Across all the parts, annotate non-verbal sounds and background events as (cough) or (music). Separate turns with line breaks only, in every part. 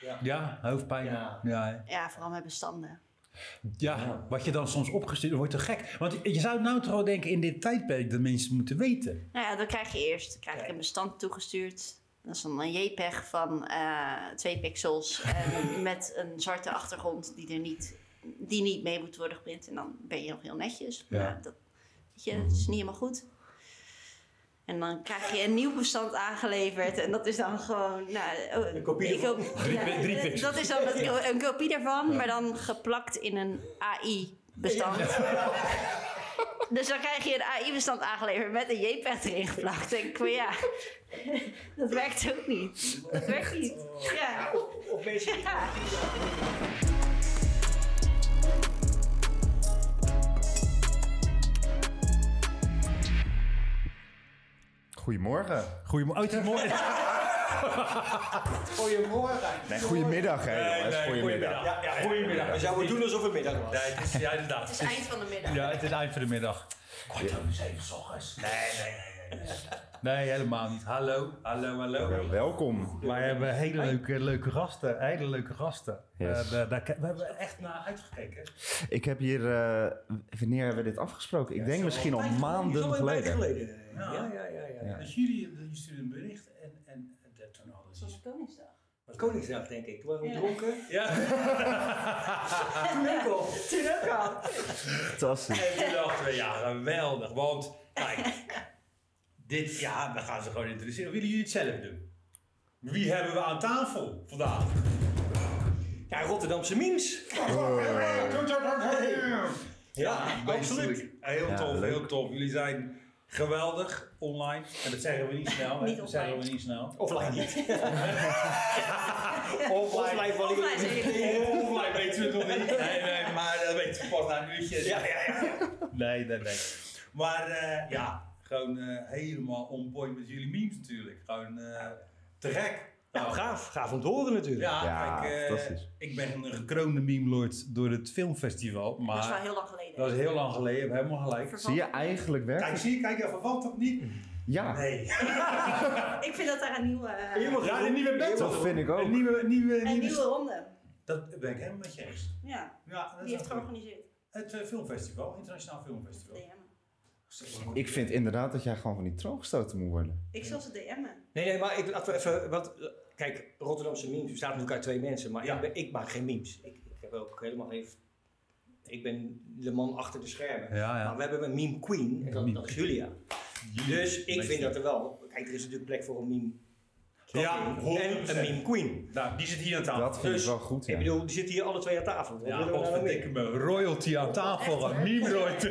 Ja.
Ja, hoofdpijn.
Ja.
Ja. Ja,
Ja, vooral met bestanden.
wat je dan soms opgestuurd wordt te gek. Want je zou nou toch wel denken in dit tijdperk dat mensen moeten weten.
Nou ja, dat krijg je eerst. Dan krijg ik een bestand toegestuurd. Dat is dan een JPEG van eh, twee pixels (laughs) en met een zwarte achtergrond die er niet, die niet mee moet worden geprint. En dan ben je nog heel netjes. Maar
Ja.
dat, weet je, dat is niet helemaal goed. En dan krijg je een nieuw bestand aangeleverd. En dat is dan gewoon... Nou, oh,
Een kopie
ik
ervan.
hoop-
Drie- drie pixels.
Dat is dan een- een kopie daarvan, maar dan geplakt in een AI-bestand. (laughs) Dus dan krijg je een AI-bestand aangeleverd met een JPEG erin geplakt. Denk ik van ja, (laughs) dat werkt ook niet. Dat werkt niet.
Oh.
Ja.
Of mensen die
Ja.
Goedemorgen.
Goedemorgen. Oh, het (laughs) is mooi.
Goedemorgen.
Nee, goedemiddag, hè, jongens. goedemiddag.
Ja, ja, goedemiddag. We zouden doen alsof het middag was.
Nee, het is, ja, inderdaad.
Het is eind van de middag.
Ja, het is eind van de middag. Kwart over zeven ochtends. Nee, nee, nee, nee. Nee, helemaal niet. Hallo, hallo, hallo.
Welkom.
Wij hebben hele leuke, leuke gasten, hele leuke gasten.
Yes.
Eh, daar- daar, we hebben echt naar uitgekeken.
Ik heb hier. eh, wanneer hebben we dit afgesproken? Ik denk misschien al maanden geleden.
geleden. Ja, ja, ja. ja, ja.
Dus jullie, jullie stuurden een bericht en, en, en toen hadden ze...
Koningsdag.
Koningsdag, denk ik. Toen waren we dronken.
Ja,
Toen ook al. Toen ook al.
Fantastisch.
en toen dachten we, ja, geweldig. Want, kijk, dit, ja, we gaan ze gewoon introduceren. Willen jullie het zelf doen? Wie hebben we aan tafel vandaag?
Ja, Rotterdamse memes. Ja,
Absoluut. Heel
Ja,
tof,
leuk.
heel tof. Jullie zijn geweldig online. En dat zeggen we niet snel. hè.
Niet
dat zeggen we
online.
niet snel.
Offline (laughs) niet. Offline van
Offline zeker.
(laughs)
Online weten we het nog niet. Nee, nee, maar dat weten we pas na een uurtje.
Ja, ja, ja.
Nee, nee, nee. Maar eh, ja, gewoon eh, helemaal on point met jullie memes natuurlijk. Gewoon eh, te gek.
Nou, gaaf. Gaaf om te horen natuurlijk.
Ja,
Ja,
ik, eh,
fantastisch.
ik ben een gekroonde meme lord door het filmfestival. Maar
Dat is wel heel lang geleden.
dat is heel lang geleden, je hebt helemaal gelijk.
Vervalt-
Zie je eigenlijk
Kijk,
werk?
zie je, kijk even, verwant of niet?
Mm. Ja.
Nee.
Ik vind dat daar een nieuwe,
Helemaal
Ja, een
goed.
nieuwe battle.
Dat vind ik ook.
Een nieuwe, nieuwe,
een nieuwe ronde.
Dat ben ik helemaal met je eens.
Ja,
Ja, dat
die heeft
is wel goed.
georganiseerd.
Het eh, filmfestival, internationaal filmfestival.
DM'en.
Ik vind inderdaad dat jij gewoon van die troon gestoten moet worden.
Ik zal ze DM'en.
Nee, nee, maar ik, laten we even. Wat, kijk, Rotterdamse memes bestaat natuurlijk uit twee mensen, maar
Ja.
ik, ben- ik maak geen memes. Ik, ik heb ook helemaal geen. Ik ben de man achter de schermen.
Ja, ja.
Maar we hebben een meme queen, en dat, dat is Julia. Dus ik
meester.
vind dat er wel. Kijk, er is natuurlijk plek voor een meme.
Ja,
en een
100%.
meme queen.
Nou, die zit hier aan tafel.
Dat vind
Dus,
ik wel goed.
Ik
Ja.
bedoel, die zitten hier alle twee aan tafel. Wat
Ja,
willen we nou nog meer?
godverdikke me. Royalty aan tafel, een meme royalty.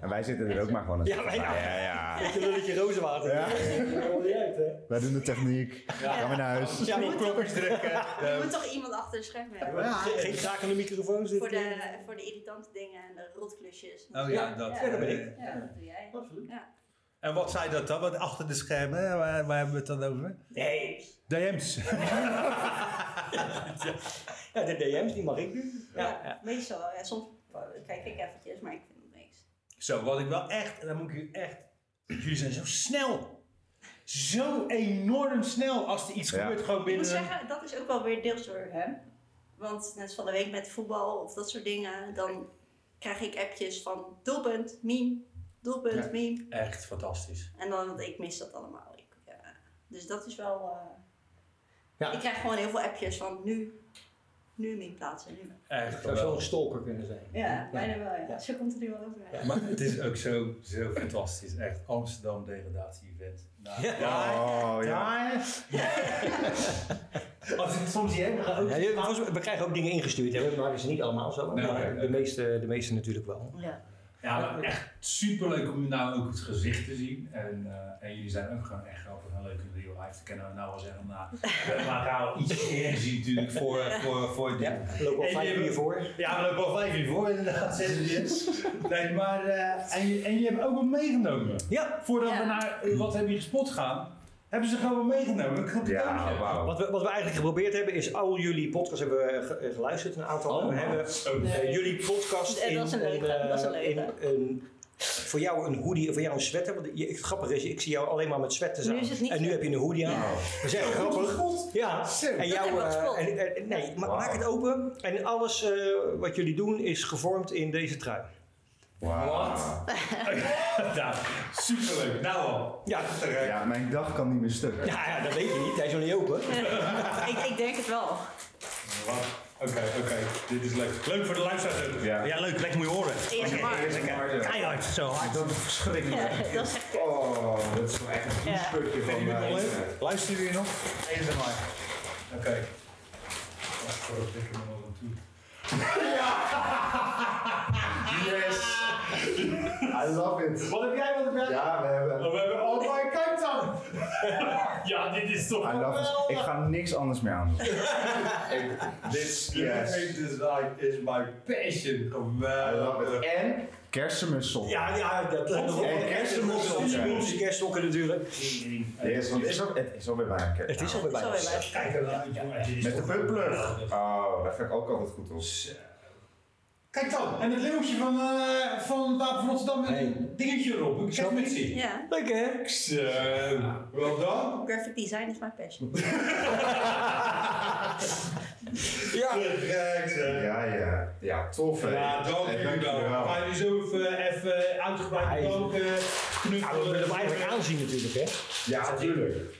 En wij zitten er ook maar gewoon aan.
Ja, wij nou.
ja, ja.
Beetje lulletje rozenwater.
Ja.
Dat niet uit, hè?
Wij doen de techniek. Gaan we naar huis.
Ja,
Knop-
maar-
Knoppers drukken.
Ehm.
Je moet toch iemand achter de scherm hebben.
Geen- Geen krakende microfoon
Voor
zitten.
de, voor de irritante dingen en de rotklusjes.
Oh ja, dat.
Ja, dat
ben ik.
Ja, dat doe jij.
Absoluut.
Ja.
En wat zei dat dan? Want achter de schermen, hè, waar, waar hebben we het dan over?
Nee,
DM's.
ja, de DM's die mag ik nu.
Ja, meestal. wel. Ja, soms kijk ik eventjes, maar ik vind het niks.
Zo, wat ik wel echt, en dan moet ik u echt. Jullie zijn zo snel. Zo enorm snel als er iets
Ja.
gebeurt, gewoon
Ik moet
binnen.
zeggen, dat is ook wel weer deels door hem. Want net als van de week met voetbal of dat soort dingen, dan krijg ik appjes van doelpunt, meme, doelpunt,
Ja.
meme.
Echt fantastisch.
En dan, want ik mis dat allemaal. Ik, ja. Dus dat is wel... eh,
Ja.
Ik krijg gewoon heel veel appjes van nu, nu meme plaatsen, nu.
Echt
Zou zo'n
geweldig.
stalker kunnen zijn.
Ja, bijna wel ja.
Ja.
Zo komt het nu wel over. Ja.
Maar het is ook zo, zo fantastisch. Echt Amsterdam degradatie-event. Nou, ja.
Oh ja.
(laughs) Als ik soms hier heen ga, ook-
Ja, je- volgens mij- we krijgen ook dingen ingestuurd. Hè? We maken ze niet allemaal zo,
Nee,
maar
nee,
de, meeste, de meeste natuurlijk wel.
Ja.
Ja, maar echt superleuk om nou ook het gezicht te zien. En, eh, en jullie zijn ook gewoon echt grappig en leuk in real life. Dat kunnen we nou wel zeggen. Nou, we maken al iets energie natuurlijk voor, voor, voor dit.
Ja, we lopen al
En
vijf
je-
uur voor.
Ja, we lopen al vijf uur voor inderdaad. dus. zes uur. Nee, maar eh, en, je, en je hebt ook wat meegenomen.
Ja,
Voordat
Ja.
we naar eh, wat heb je gespot gaan, hebben ze gewoon wat meegenomen. Ik heb het
Ja,
cadeautje.
wauw.
wat we, wat we eigenlijk geprobeerd hebben is al jullie podcasts hebben we ge- eh, geluisterd, een aantal.
Oh,
we
man.
hebben
Zo.
eh, jullie podcast
Eh,
in
dat is een leuke,
eh,
dat is een leuke.
in een Voor jou een hoodie, voor jou een sweater. Want je, het grappige is, ik zie jou alleen maar met sweaters
Nu
aan.
is het niet
en nu
zo.
heb je een hoodie aan. Dat is echt grappig. Ja, en
Dat hebben
jou,
we
eh,
gespot.
en, en- nee, ma-
Wauw.
maak het open. En alles eh, wat jullie doen is gevormd in deze trui.
Wat? (laughs) nou, superleuk. Nou al.
Ja, ja,
Ja, mijn dag kan niet meer stuk.
ja, dat weet je niet. Hij is nog niet open.
ik, ik denk het wel.
Wat? Oké, oké. Dit is leuk. Leuk voor de luisteraars. ook.
Ja.
leuk. Lekker moet je horen.
Eerst maar.
Keihard, zo hard.
Dat is verschrikkelijk.
Ja, (laughs) dat is echt
Oh, dat is wel echt een
Ja.
sputje van
Vinden jullie
mij.
het nog leuk? Luisteren jullie nog? ASMR. Oké. Nou, Wacht voor dat ik er nog wel aan toe.
Yes! I love it.
Wat heb jij, wat heb jij?
Ja, we hebben...
Oh, we hebben allemaal, kijk dan! (laughs) ja, dit is toch
I love it. Ik ga niks anders meer
(laughs)
aan doen. Ik-
This
Yes.
graphic design is my passion.
I love
Geweldig.
it. En kersenmussel.
Ja, ja, dat
En kersenmoes.
is kerststokken natuurlijk.
Het is, want het is, al- het is alweer bijna kerst.
Het is alweer
zo
bijna.
heel erg.
Kijk eruit, jongen. Dit is
Met de
toch
putplug.
geweldig.
Oh, daar ga ik ook altijd goed op.
Dus, eh, Kijk dan, en het leeuwtje van, eh van Wapen van Amsterdam met een dingetje erop. Ik zeg met zien.
Ja,
Leuk hè?
Zo, wel dan?
graphic design is mijn passion.
Ja.
Kijk, zeg.
Ja, ja. Ja, tof hè.
Ja, dank
En
u wel.
dankjewel.
Ga je zo even, even uitgebreid
Hij is-
ook eh,
Ja, Nou, we willen
knuffelen?
hem eigenlijk aanzien natuurlijk hè.
Ja, tuurlijk.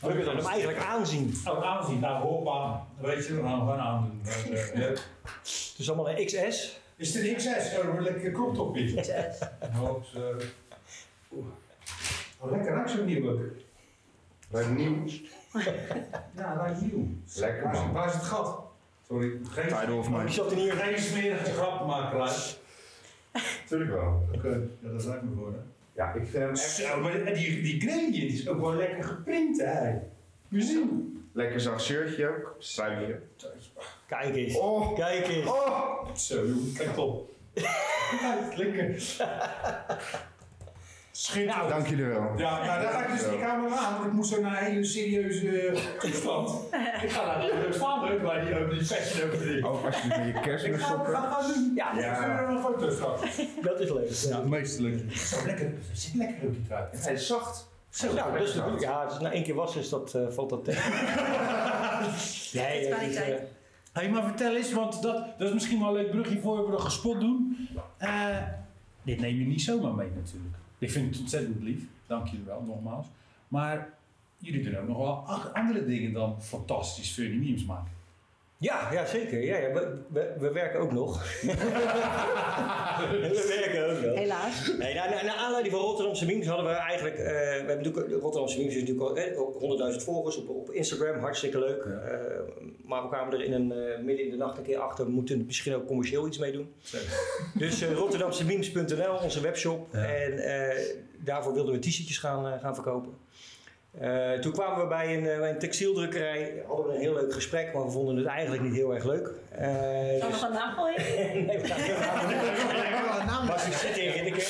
We willen hem eigenlijk aanzien.
Ook aanzien, nou hoppa. Weet je, we gaan gewoon
(laughs)
aandoen. Eh, eh,
Het is allemaal een XS.
Is dit XS? Oh, een lekker kroptopje.
Succes.
Hoop, eh, oeh. Oh, Lekker ruikt zo'n nieuwe.
Wat nieuw.
Ja, ruikt nieuw.
Lekker
Waar is,
man.
waar is het gat? Sorry, geen, Oh,
Title of
Die
mine.
zat er niet in.
geen smerige grap te maken, Lars.
Tuurlijk wel.
Oké, ja, dat lijkt me voor, hè.
Ja, ik vind hem echt
Zo, eh, maar die, die gradient is ook wel lekker geprint, hè. We zien.
lekker zacht shirtje ook. Struikje.
Kijk eens.
Oh!
Kijk eens.
Oh!
Zo, joh, kijk op. (laughs) Ja, lekker.
Nou,
Schitterend.
Dank jullie wel.
Ja, nou daar ga ik dus die camera aan, want ik moest zo naar een hele serieuze eh, toestand. (laughs) ik ga daar heel leuk staan, leuk, maar die, eh, die fashion over die.
Ook als je met je
Ik ga
kerstmissokken.
ga- ga doen. Ja,
Ja.
ik stuur hem een foto straks.
Dat is leuk. Ja.
meestelijk.
Zo lekker, zit lekker op die trui.
Hij is zacht.
Zo, nou, dat is natuurlijk. Ja, als het na één keer was, is dat, eh, valt dat tegen. nee, dat is, eh,
Hé, maar vertel eens, want dat, dat is misschien wel een leuk brugje voor we dat gespot doen. Eh, dit neem je niet zomaar mee natuurlijk. Ik vind het ontzettend lief, dank jullie wel, nogmaals. Maar jullie doen ook nog wel a- andere dingen dan fantastisch funny memes maken.
ja, ja, zeker. Ja, ja, we, we, we werken ook nog. (laughs)
(laughs)
we werken ook nog.
Helaas.
Nee, nou, nou, naar aanleiding van Rotterdamse memes hadden we eigenlijk... eh, we hebben natuurlijk, de Rotterdamse memes is natuurlijk al eh, ook 100.000 volgers op, op Instagram. Hartstikke leuk. Eh, maar we kwamen er in een, eh, midden in de nacht een keer achter. We moeten er misschien ook commercieel iets mee doen. (laughs) Dus eh rotterdamsememes.nl, onze webshop.
Ja.
En eh, daarvoor wilden we t-shirtjes gaan, eh, gaan verkopen. Eh, toen kwamen we bij een, eh, bij een textieldrukkerij. Hadden we een heel leuk gesprek, maar we vonden het eigenlijk niet heel erg leuk. Eh,
Zal
dus-
nog een nagel in?
(laughs) Nee, we gaan- Maar succes tegen Rinneke.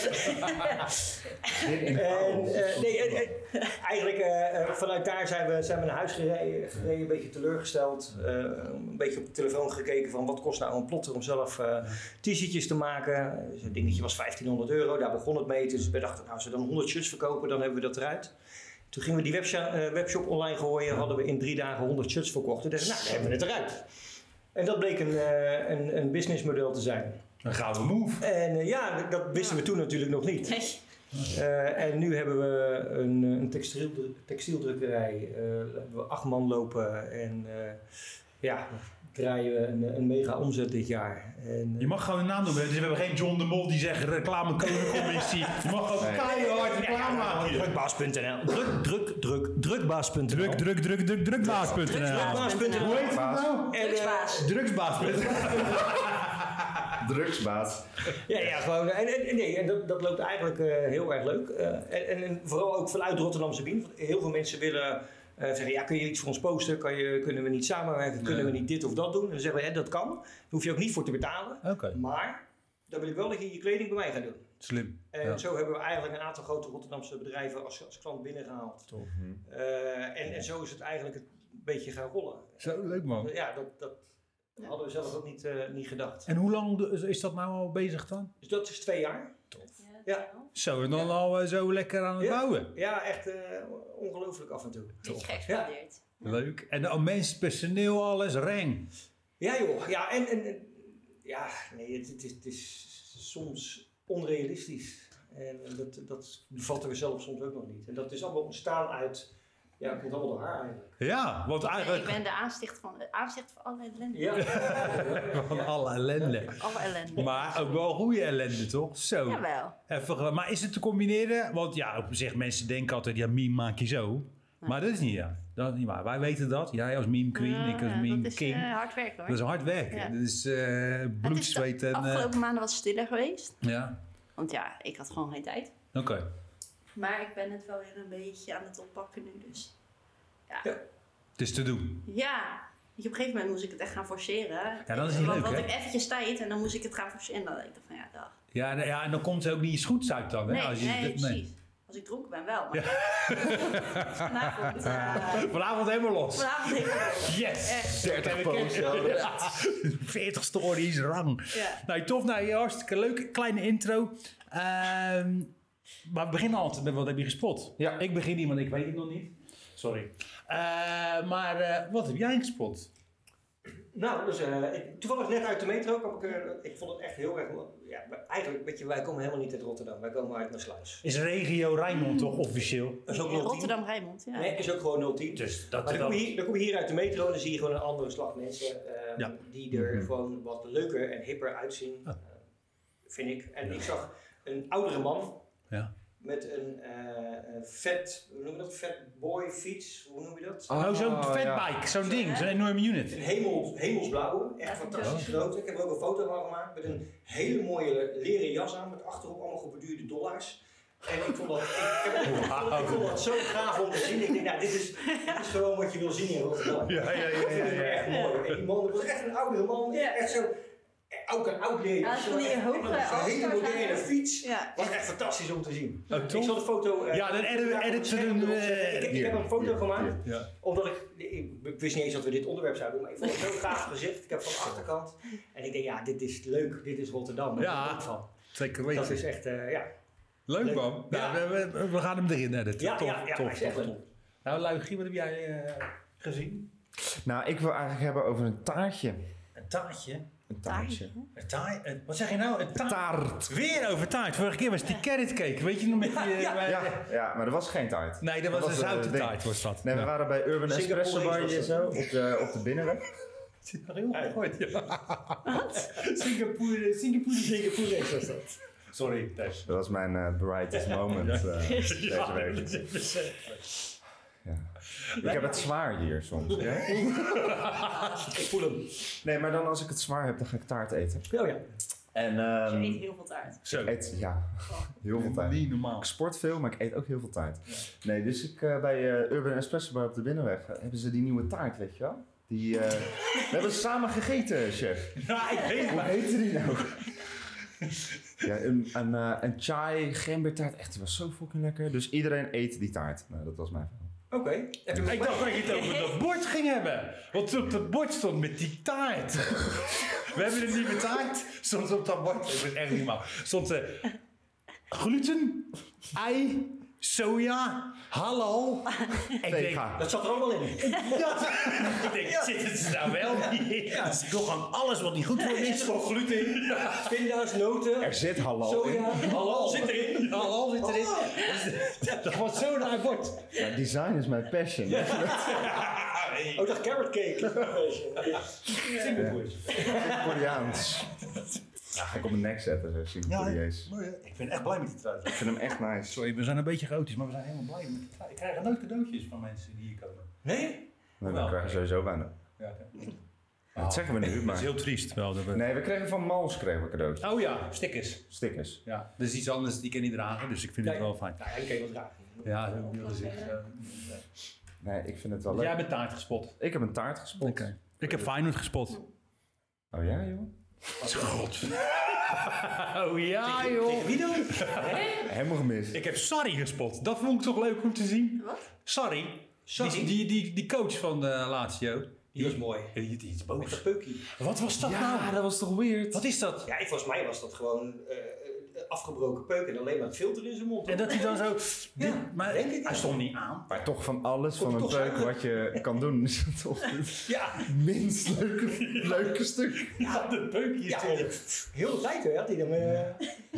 oh,
En, eh, nee, eh, eh, eigenlijk eh, eh, vanuit daar zijn we, zijn we naar huis gereden, gereden een beetje teleurgesteld. eh, een beetje op de telefoon gekeken van wat kost nou een plotter om zelf eh, t-shirtjes te maken. Dus een dingetje was 1500 euro, daar begon het mee. Dus we dachten, nou, als we dan 100 shirts verkopen, dan hebben we dat eruit. Toen gingen we die websha- eh, webshop online gooien, hadden we in drie dagen 100 shirts verkocht. En dachten, we, nou, dan hebben we het eruit. En dat bleek een, eh, een, een businessmodel te zijn.
Een gouden move.
En eh, ja, dat wisten we toen natuurlijk nog niet.
Nee.
Eh, en nu hebben we een, eh, een textiel, textieldrukkerij. eh, hebben we acht man lopen en eh, ja, draaien we een, een mega omzet dit jaar. En, eh,
Je mag gewoon een naam noemen, dus we hebben geen John de Mol die zegt reclamecodecommissie. Je mag gewoon
Nee.
keihard reclame
Ja,
maken. hier.
drukbaas.nl. Druk, druk, druk, drukbaas.nl.
Druk, druk, druk, druk, drukbaas.nl. Hoe heet het nou?
En, eh,
Drugsbaas.
Drugsbaas.nl.
Drugsbaas.
ja, ja, gewoon. En, en- en nee, en dat, dat loopt eigenlijk eh, heel erg leuk. Eh, en, en, en vooral ook vanuit Rotterdamse Wien. Want Heel veel mensen willen eh, zeggen: ja, kun je iets voor ons posten? Kan je, kunnen we niet samenwerken? Kunnen we niet dit of dat doen? En dan zeggen we: hè, dat kan. Daar hoef je ook niet voor te betalen.
Oké,
Maar dan wil ik wel dat je je kleding bij mij gaat doen.
slim.
En
Ja.
zo hebben we eigenlijk een aantal grote Rotterdamse bedrijven als, als klant binnengehaald.
Tof.
Eh, en, en zo is het eigenlijk een beetje gaan rollen.
Zo, leuk man.
Ja, dat, dat hadden we zelf ook niet, eh, niet gedacht.
En hoe lang is dat nou al bezig dan?
Dus dat is twee jaar.
Ja,
Ja.
Zo, en dan al eh, zo lekker aan het
Ja.
bouwen.
Ja, echt eh, ongelooflijk af en toe.
Beetje
Ja.
geëxplodeerd.
Leuk. En al mensen, personeel, alles, reng.
Ja joh, ja en, en, en- ja, nee, het, het is, het is soms onrealistisch. En dat, dat bevatten we zelf soms ook nog niet. En dat is allemaal ontstaan uit, ja, het komt allemaal door haar eigenlijk.
Ja, want
Nee, ik
eigenlijk
ben de aansticht van, aansticht van alle ellende.
Ja,
(laughs)
(laughs)
van alle ellende.
Alle ellende.
Maar ook wel goede ellende, toch? Zo.
Jawel.
Even, ge- maar is het te combineren? Want ja, op zich, mensen denken altijd, ja, meme maak je zo. Maar dat is niet, ja. dat is niet waar. Wij weten dat. Jij als meme queen,
Ja,
ik als
ja,
meme
dat is,
king.
eh, hard werken hoor.
dat is hard werken.
Ja.
Dat is eh
Het
bloed,
is de
zweet en... eh,
afgelopen maanden wat stiller geweest.
ja,
Want ja, ik had gewoon geen tijd.
oké.
Maar ik ben het wel weer een beetje aan het oppakken nu dus.
Het is te doen.
Ja. Op een gegeven moment moest ik het echt gaan forceren.
Ja, dat is niet
Want
leuk,
had
hè?
ik eventjes tijd en dan moest ik het gaan forceren. En dan dacht ik van ja, dag.
Ja, en- ja, en dan komt het ook niet eens goed uit dan. Hè?
Nee,
Als je-
nee,
nee.
precies. Als ik dronken ben wel. (laughs) Maar vanavond, eh,
Vanavond helemaal los.
vanavond Eh, even.
Yes!
30
(laughs)
posts.
Ja. 40 stories, rang.
Ja.
Nou, tof. Nou, ja, hartstikke leuk. Kleine intro. Ehm, maar we beginnen altijd met wat heb je gespot?
Ja.
Ik begin niet, want ik weet het nog niet. Sorry. Eh, maar eh, wat heb jij gespot?
nou, dus, eh, ik- toevallig net uit de metro kwam ik, eh, ik vond het echt heel erg, ja, maar eigenlijk, weet je, wij komen helemaal niet uit Rotterdam, wij komen uit Maasluis.
Is regio Rijnmond toch officieel?
Dat is ook 010.
Rotterdam Rijnmond, ja.
Nee, is ook gewoon 010.
Dus dat
Maar dan
dat-
kom, je hier, dan kom je hier uit de metro en dan zie je gewoon een andere slag mensen ehm,
Ja.
die er gewoon wat leuker en hipper uitzien, eh, vind ik. En ik zag een oudere man
Ja.
met een eh, eh, vet, hoe noem je dat? Fat boy fiets, hoe noem je dat?
Oh, zo'n
Oh, ja.
fatbike, zo'n ding, zo'n enorme unit.
Een hemel, hemelsblauwe, echt
Ja,
fantastisch groot. Ik heb er ook een foto van gemaakt met een hele mooie leren jas aan met achterop allemaal geborduurde dollars. En ik vond dat, ik, ik, heb- ik vond, ik vond dat zo gaaf om te zien. Ik denk, nou, dit is, dit is gewoon wat je wil zien in Rotterdam.
Ja, ja, ja,
Dat vind
ja,
ik
ja.
echt mooi. En die man, dat was echt een oudere man.
Ja.
Echt zo, eh, ook een oud leren.
Ja, dat
jas,
van die
echt- en dan
hoge
Zo'n hele
All-Stars
moderne
aan.
fiets.
Ja.
Was echt fantastisch om te zien.
(laughs) Oh,
Ik
tof.
zal de foto... eh,
Ja, dan edit-
daar op het
edit ze
scherm
doen,
erop
eh,
zetten. Ik- Ik heb een foto gemaakt
Ja.
omdat ik, ik, ik wist niet eens dat we dit onderwerp zouden doen, maar ik vond het zo gaaf gezicht. Ik heb van de achterkant. En ik denk, ja, dit is leuk, dit is Rotterdam. Daar
Ja.
ben ik van.
Zeker
Dat
weten.
is echt, eh, ja.
Leuk
Leuk.
man.
Ja.
Nou, we, we- we gaan hem erin editen.
Ja,
tof,
ja, ja,
tof,
hij is echt
tof,
leuk.
tof. Nou, Luigie, wat heb jij eh, gezien?
Nou, ik wil eigenlijk hebben over een taartje.
Een taartje.
Een taartje.
Een taart. een- Wat zeg je nou? Een taart.
Taart.
Weer over taart. Vorige keer was die carrot cake. Weet je nog met die... (laughs) eh, waar-
Ja, ja, maar er was geen taart.
Nee, dat was, een
eh,
zouten
ding.
taart was dat.
Nee, we
Ja.
waren bij Urban
Singapore
Espresso Bar
is
hier
dat
zo, op de, op de binnenweg.
Heel goed, (laughs) ja. Singapore, Singapore, Singapore is dat. Sorry, Thijs.
Dat was mijn eh, brightest moment eh, deze
Ja,
week.
dat is verschrikkelijk. (laughs)
Ik heb het zwaar hier soms. hè?
Ik voel hem.
Nee, maar dan als ik het zwaar heb, dan ga ik taart eten.
Oh ja.
En
Je eet
ehm
heel veel taart.
Zo.
eet, ja, heel veel taart.
Niet normaal.
Ik sport veel, maar ik eet ook heel veel taart. Nee, dus ik, eh, bij eh, Urban Espresso Bar op de Binnenweg eh, hebben ze die nieuwe taart, weet je wel? Die, eh, we hebben ze samen gegeten, chef.
Ja, ik weet
Hoe
het.
heette die nou? (laughs) ja, een, een, eh, een chai gembertaart. Echt, die was zo fucking lekker. Dus iedereen eet die taart. Nou, dat was mijn verhaal.
Oké. Heb je-
Ik dacht dat je het over dat bord ging hebben. Want op dat bord stond met die taart. We hebben het niet betaald. Soms op dat bord, ik ben echt niet mal. Stond eh, gluten, ei, soja, halal. Ik denk,
Vega.
Dat zat er allemaal in.
ik denk, zit het er nou wel (laughs) in? Dus ik wil gewoon alles wat niet goed voor me is.
gewoon gluten in. Pinda's, noten,
Er zit halal in.
soja. Oh. Halal zit erin.
Halal zit erin. Dat was zo'n raar bord.
Maar design is mijn passion.
Oh, dat carrot cake.
Singapore's.
Koreaans. Ja, ga ik op mijn nek zetten, zo zien
Ja,
Koreaans.
maar, eh, ik ben echt blij met die taart.
Ik vind hem echt nice.
Sorry, we zijn een beetje chaotisch, maar we zijn helemaal blij. met die taart. Ik krijg nooit cadeautjes van mensen die hier komen.
Nee?
Nou, we krijgen sowieso weinig.
Ja,
Nou, dat
(laughs)
zeggen we nu,
Dat is
maar...
heel triest wel. Dat we...
Nee, we kregen van Mals kregen we cadeautjes.
Oh ja, stickers.
Stickers.
Ja, dat is iets anders, die kan je niet dragen, dus ik vind het
Nee.
wel fijn.
Nou, ja, ik kan je wel dragen.
Ja, heel veel gezicht. eh.
Nee, ik vind het wel leuk.
Jij bent taart gespot.
Ik heb een taart gespot.
Ik heb Feyenoord gespot.
Oh ja, joh?
God. (laughs) Oh ja, joh.
Tegen wie dan?
Helemaal gemist.
Ik heb Sarri gespot. Dat vond ik toch leuk om te zien.
Wat?
Sarri.
Sarri?
Die, die, die, die coach van de Lazio.
Die was mooi.
Die, die is
Met
boos.
dat peukie.
Wat was dat nou?
dat was toch weird?
Wat is dat?
Ja, volgens mij was dat gewoon eh, eh, afgebroken peuk en alleen maar het filter in zijn mond.
En dat hij dan zo...
Ja,
maar
denk ik.
hij stond niet aan.
Maar toch van alles,
Komt
van een
toch
peuk
zuigen.
wat je kan doen, is het toch het
Ja,
minst leuke, leuke stuk.
Ja, de peuk hier
(laughs) ja
stond.
heel de tijd hè, had hij dan. eh,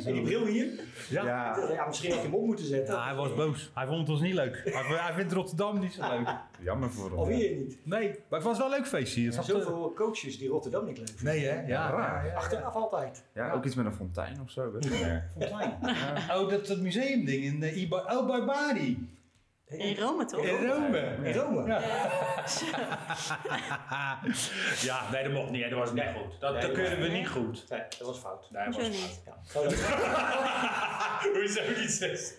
en die bril hier.
Ja.
Ja,
Ja, misschien had je hem op moeten zetten.
Ja, hij was boos. Hij vond ons niet leuk. Hij, hij vindt Rotterdam niet zo leuk.
jammer voor hem.
Of hier niet.
Nee, maar het was wel een leuk feestje hier. Het
Er zijn
zat, eh,
zoveel coaches die Rotterdam niet leuk vinden.
Nee hè? Ja,
Raar.
ja,
Achteraf altijd.
Ja, ook iets met een fontein of zo. weet ik niet.
Fontein.
ja. Oh, dat, dat museumding in eh, Iba oh, Barbari.
In Rome toch?
In Rome.
In Rome.
Ja. ja, nee, dat mocht niet. hè. Dat was niet
Nee.
goed. Dat,
Nee,
dat
dat
kunnen we
was-
niet goed.
Nee, dat was fout.
Nee,
Hoezo niet?
Ja. Nee,
(laughs) Hoezo niet zes?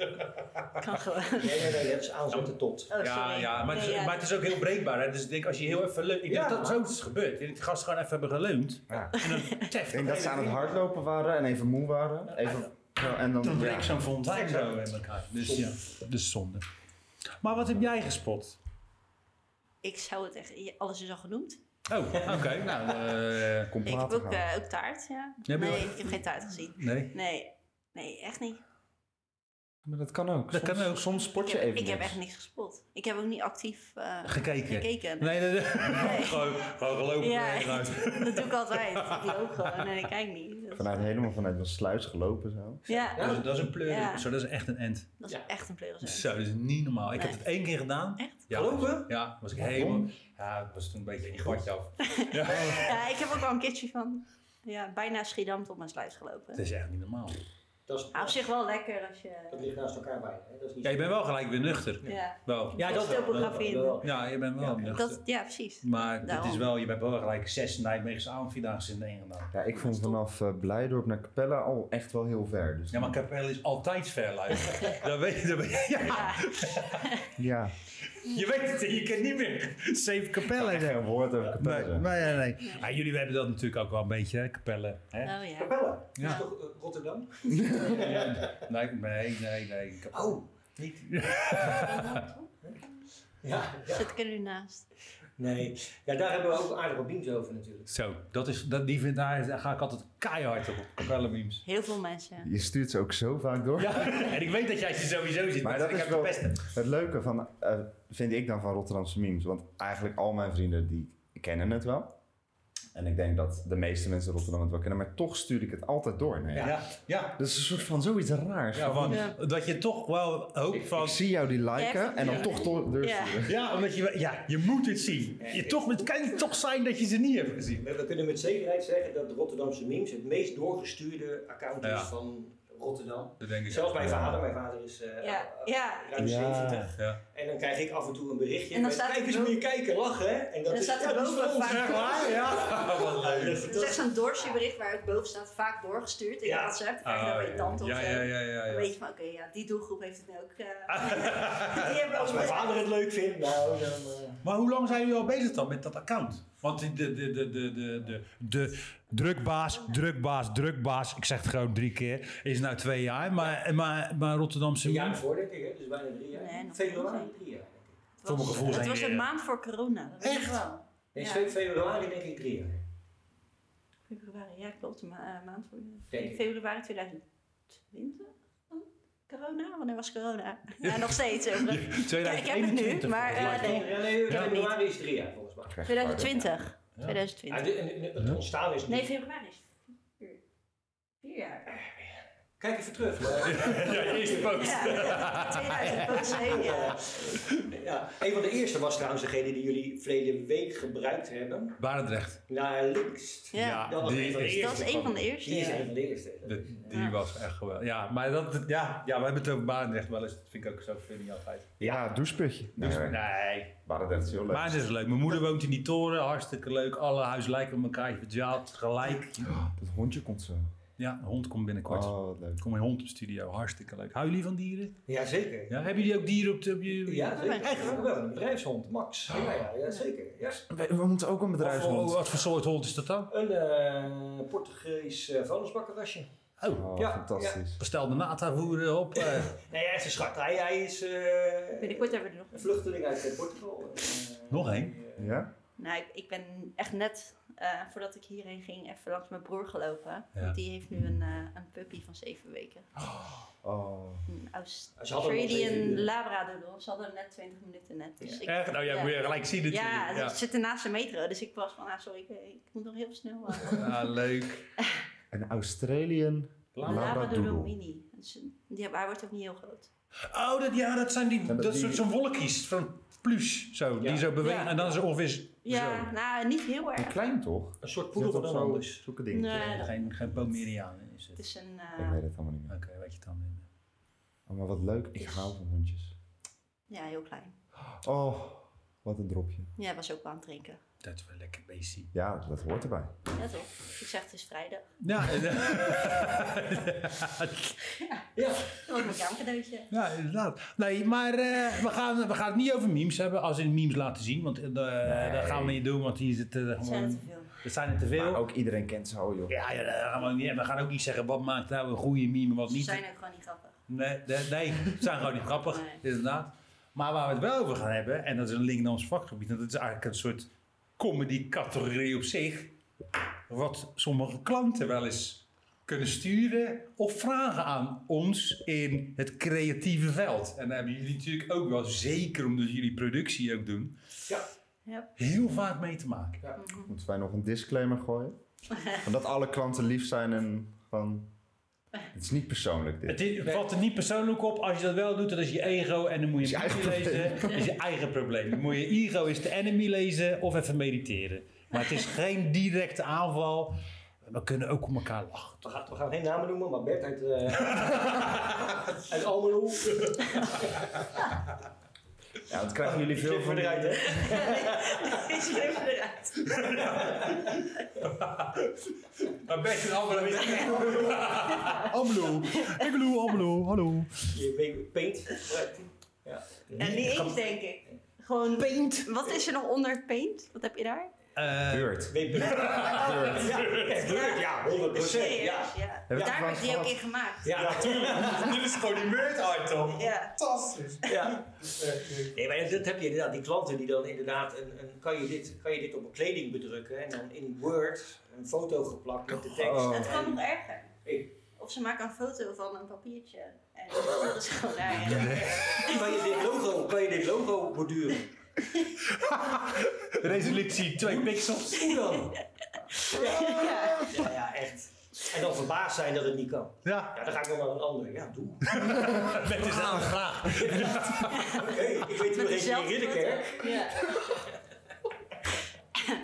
Kan gewoon.
nee, nee, dat is aanzetten tot.
Oh,
Ja,
sorry.
ja, maar, het
Nee,
is,
ja.
maar het is ook heel breekbaar. Hè? Dus ik denk, als je heel even leunt... Ik
Ja.
denk dat zo is het gebeurd. Ik denk dat die gasten gewoon even hebben geleund.
Ja.
En
(laughs)
dan tef.
Ik denk dat ze aan het hardlopen waren en even moe waren. Even, ja, en dan,
Dan
ja.
breekt zo'n fontein
Exact.
zo in elkaar. Dus ja, dus zonde. Maar wat heb jij gespot?
Ik zou het echt... je- Alles is al genoemd.
Oh, oké. nou, eh,
Komt
Ik heb
later
ook,
gaan.
eh, ook taart, ja.
je
nee,
wel-
ik heb geen taart gezien.
nee.
Nee, nee echt niet.
Maar dat kan ook.
Dat
soms,
kan ook.
Soms sport
Ik
je
heb,
even
ik heb
niks.
echt niks gespot. Ik heb ook niet actief eh,
Gekeken.
gekeken.
Nee, nee, nee. (laughs) gewoon, gewoon gelopen.
Ja.
en eruit.
(laughs) Dat doe ik altijd. Ik loop gewoon en ik kijk niet. Dat,
Vanuit, helemaal vanuit een sluis gelopen zo.
ja,
Dat, is, dat is een pleur.
Ja.
Zo, dat is echt een end.
dat is
Ja.
echt een pleuris.
Zo, dat is niet normaal. Ik
Nee.
heb het één keer gedaan.
Echt?
Ja,
Gelopen?
Ja, was ik
Waarom?
helemaal... Ja, het was toen een beetje in je badje af.
Ja, ik heb ook al een kitje van. Ja, bijna Schiedam tot mijn sluis
Het
gelopen.
is echt niet normaal.
Dat, is,
Ah, op zich wel lekker
dat
als je...
ligt naast elkaar bij. Hè? Dat is niet
Ja, je bent wel gelijk weer nuchter.
Ja,
Wel.
Ja, dat wel.
topografie.
Dat wel.
Ja, je bent wel nuchter.
dat, Nou. ja precies.
Maar dit
Daarom.
is wel, je bent wel gelijk zes Nijmeegse avondvierdaagse in de ene gedaan.
Ja, ik vond vanaf eh, Blijdorp naar Capelle al echt wel heel ver. Dus
Ja, maar Capelle is altijd ver,
(laughs)
luister. dat weet je. dat weet- ja,
Ja,
Ja.
je weet het, je kent niet meer. Save Capelle.
Geen woord over Capelle.
Nee,
zeggen.
nee, nee. nee. Ja, Ah, jullie hebben dat natuurlijk ook wel een beetje, hè, Capelle. Hè?
oh ja.
(laughs) Capelle.
Ja.
Dat is toch eh, Rotterdam?
Nee, nee, nee. nee. Capelle.
Oh, niet. ja, ja.
Zit ik er nu naast.
Nee. Ja, daar hebben we ook aardig wat beams over natuurlijk.
Zo, dat is, dat, die vind, daar daar ga ik altijd keihard op. Capelle memes.
Heel veel mensen.
Je stuurt ze ook zo vaak door.
Ja, (laughs) en ik weet dat jij ze sowieso ziet,
Maar
maar,
dat
ik
is
heb de
wel-
beste.
Het leuke van, eh, vind ik dan van Rotterdamse memes, want eigenlijk al mijn vrienden die kennen het wel. En ik denk dat de meeste mensen in Rotterdam het wel kennen, maar toch stuur ik het altijd door. Nee.
Ja, ja.
Dat is een soort van zoiets raars.
Ja, want
Ja.
dat je toch wel hoopt van...
Ik zie jou die
Echt?
liken en dan
Ja.
toch door
Ja.
doorsturen.
Ja, omdat je, wel- ja, je moet het zien. Je toch, het kan toch zijn dat je ze niet hebt gezien.
We, we kunnen met zekerheid zeggen dat de Rotterdamse memes het meest doorgestuurde account is
Ja.
van Rotterdam.
Dat denk ik
Zelfs mijn
Ja.
vader, mijn vader is eh,
Ja,
eh,
ja.
ruim
Ja.
70.
Ja.
En dan krijg ik af en toe een berichtje.
En dan
met,
staat
Kijk
er
eens
boven-
moet je kijken, lachen. Hè? En dat
En dan
is,
staat er
ja, dat is
boven
voor ons.
vaak-
Echt waar? (laughs) Ja. Wat leuk.
Het is echt zo'n doorsjebericht waar het boven staat. Vaak doorgestuurd in
Ja.
WhatsApp. Dan krijg je dan bij je tante of
Ah, ja,
zo.
ja, ja, ja,
Dan
ja.
weet je van, oké, ja, die doelgroep heeft het nu ook. eh, (laughs) die hebben
Als
ook
mijn vader het leuk vindt, nou dan... eh,
Maar hoe lang zijn jullie al bezig dan met dat account? Want de, de, de, de, de, de, de, de drukbaas, drukbaas, drukbaas, ik zeg het gewoon drie keer, is nou twee jaar. Maar, maar, maar Rotterdamse...
Een jaar voor, denk ik, hè? dus bijna drie jaar.
Nee, nog
februari,
niet.
drie jaar. denk ik.
Het
Voor mijn
was-
gevoel zijn
Het was
die,
een
eh,
maand voor corona. Dat weet ik
Echt?
wel.
Nee,
Ja.
twee- februari denk ik drie jaar.
Februari, ja, klopt. Een ma- eh, maand voor
Denk ik.
Februari 2020? dan? Corona? Wanneer was corona? (laughs) Ja, nog steeds. eh, ik heb het nu, maar... eh,
volgens mij.
nee.
Ja, nee,
Ja.
februari is drie jaar volgens mij.
2020.
Ja.
2020.
Ja, de- en- en het ontstaan is
Nee,
niet.
februari is vier, vier jaar.
Kijk even terug. maar-
(laughs) Ja, eerste post.
Ja, 2007. Ja.
Ja, een van de eerste was trouwens degene die jullie verleden week gebruikt hebben.
Barendrecht.
Naar links.
Ja.
Dat was een van de
is-
eerste.
Dat is een van de eerste.
Die is
ja.
een van de eerste.
De- die
Ja.
was echt geweldig. Ja, maar dat, ja, ja, we hebben het over Barendrecht wel eens. Dat vind ik ook zo, vind ik niet altijd.
Ja, doucheputje.
Dus,
nee,
nee,
maar dat is heel leuk.
Barendrecht is leuk. Mijn moeder woont in die toren, hartstikke leuk. Alle huizen lijken op elkaar, je verdwaalt gelijk.
Dat hondje komt zo.
Ja, een hond komt binnenkort.
Oh, wat Oh, leuk.
Er komt een hond op studio, hartstikke leuk. Houden jullie van dieren?
Ja, zeker.
Ja, hebben jullie ook dieren op de... Op je...
Ja, zeker.
Echt?
Ja, wel, een bedrijfshond, Max. Ja, ja, ja zeker. Ja.
We, we moeten ook een
Of-
bedrijfshond.
Wat voor soort hond is dat dan?
Een eh Portugees eh vuilnisbakkerasje.
Oh,
Oh,
Ja,
fantastisch.
bestel de nata-voeren op.
(laughs)
eh.
Nee, hij is een schat. Hij, hij is eh,
Binnenkort hebben we er nog.
een vluchteling uit eh, Portugal. Eh,
Nog één?
die, eh,
Ja?
Nou, ik, ik ben echt net eh, voordat ik hierheen ging, even langs mijn broer gelopen.
Ja.
Want Die heeft nu een, eh, een puppy van zeven weken.
Oh.
Een
Ze hadden hem al zeven
Australian
uur.
Labradoodle. Ze hadden hem net 20 minuten net. Dus ik,
Echt? Nou ja, moet je gelijk zien natuurlijk.
ja,
Ja,
ze zitten naast de metro. Dus ik was van, ah, sorry, ik, ik moet nog heel snel.
(laughs)
eh,
Ah, leuk.
Een Australian.
Een
Labra-
Labradoodle
Labradoodle.
mini. Dus, eh, die, hij wordt ook niet heel groot.
Oh, dat, ja, dat zijn die,
Zijn dat
dat
die-
soort zo'n wolkjes van pluche, zo,
Ja.
die zo bewegen
Ja.
en dan is het ongeveer
Ja,
zo.
nou, niet heel
En
erg.
klein toch?
Een soort poedel, maar dan anders.
Zulke dingen.
Nee, dat-
Geen, geen pomeriaan is
het
het.
is een... eh,
Ik weet het allemaal niet meer.
Oké, weet je het dan. eh? niet meer.
Oh, maar wat leuk. Ik hou van hondjes.
ja, heel klein.
Oh, wat een dropje.
Ja, hij was ook wel aan het drinken.
Dat is wel lekker beestie.
Ja, dat hoort erbij.
Ja, toch? Ik zeg, het is vrijdag.
Ja, eh,
Ja.
Dat was Oh, mijn kamercadeautje.
(laughs) ja, inderdaad. Nee, maar eh, we, gaan, we gaan het niet over memes hebben, als in memes laten zien. Want eh, dat gaan we niet doen, want hier zitten eh, er
Zijn er te
gewoon...
veel.
Er zijn er te
Maar
veel.
ook iedereen kent zo, joh.
Ja, ja, dat gaan we, ook niet, hebben. we gaan ook niet zeggen wat maakt nou een goede meme en wat
Ze
niet.
zijn ook gewoon niet grappig. (laughs)
Nee, nee, nee, ze zijn gewoon niet grappig,
Nee.
inderdaad. Maar waar we het wel over gaan hebben, en dat is een link naar ons vakgebied, en dat is eigenlijk een soort comedy-categorie op zich, wat sommige klanten wel eens kunnen sturen of vragen aan ons in het creatieve veld. En daar hebben jullie natuurlijk ook wel, zeker omdat jullie productie ook doen,
Ja.
Ja.
heel vaak mee te maken.
Moeten wij nog een disclaimer gooien?
(laughs)
Van dat alle klanten lief zijn en van... Het is niet persoonlijk
(laughs)
dit.
Het, is- het valt er niet persoonlijk op. Als je dat wel doet, dan is je ego en dan moet je
Dat
een
is je
boekje
eigen
lezen. Dat is je eigen probleem. Dan moet je ego is de enemy lezen of even mediteren. Maar het is geen directe aanval. We kunnen ook om elkaar lachen.
We gaan, we gaan geen namen noemen, maar Bert uit,
(laughs)
eh uit Almelo.
Ja, dat krijgen jullie
Knip
veel
voor
van...
eruit, hè?
Is er even eruit.
Maar best een andere Amlo. Ik loe Amlo. Hallo.
eh,
Je weet- paint. Ja.
En niet eens, denk ik. Gewoon paint. Wat is er nog onder paint? Wat heb je daar?
Eh,
Beurt.
Weet paint. Ja, echt leuk, ja, 100 Ja.
Ah, Serieus, ja.
Heb ik
Daar werd
trouwens
die ook
gehad.
in gemaakt.
Ja, natuurlijk.
Dit is gewoon die meurt item.
Ja.
Fantastisch.
Ja. Nee, maar dat heb je inderdaad, die klanten die dan inderdaad, een, een, kan, je dit, kan je dit op een kleding bedrukken en dan in Word een foto geplakt met de tekst.
Oh.
Het kan nog erger.
Ik-
Of ze maken een foto van een papiertje. En dat is gewoon daar.
Kan je dit logo, kan je dit logo borduren?
Resolutie 2 pixels.
Hoe dan?
Ja.
Ja, ja, echt. En dan verbaasd zijn dat het niet kan.
Ja,
Ja, dan ga ik nog naar een ander. Ja, doe.
met dezelfde vraag.
Oké, ik weet hoe
Met
we in
dezelfde
Ridderkerk.
foto. Ja.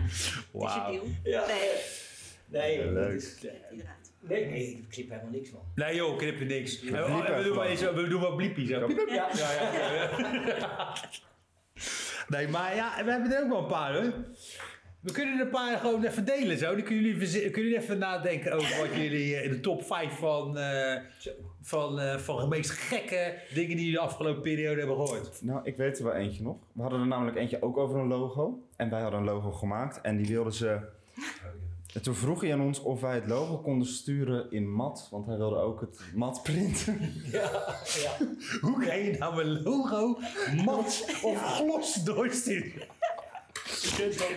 Is het
Wauw.
deal?
Ja.
Nee,
Nee,
Ja,
dat
leuk.
is-
het is eruit.
nee, nee, ik knip helemaal niks, man.
Nee joh, knippen niks. We,
bliepen
we, doen
even
wel
wat.
eens- we doen wel bliepjes. hè.
Ja.
Ja, ja, ja.
(laughs) Nee, maar ja, we hebben er ook wel een paar hoor. We kunnen er een paar gewoon even delen zo. Dan kunnen jullie, verzi- kunnen jullie even nadenken over wat jullie eh, in de top 5 van, eh,
Zo.
van, eh, van de meest gekke dingen die jullie de afgelopen periode hebben gehoord.
Nou, ik weet er wel eentje nog. We hadden er namelijk eentje ook over een logo. En wij hadden een logo gemaakt en die wilden
(laughs)
ze... En toen vroeg hij aan ons of wij het logo konden sturen in mat. Want hij wilde ook het mat printen.
(laughs)
ja.
Hoe kan je nou een logo mat of glos doorsturen?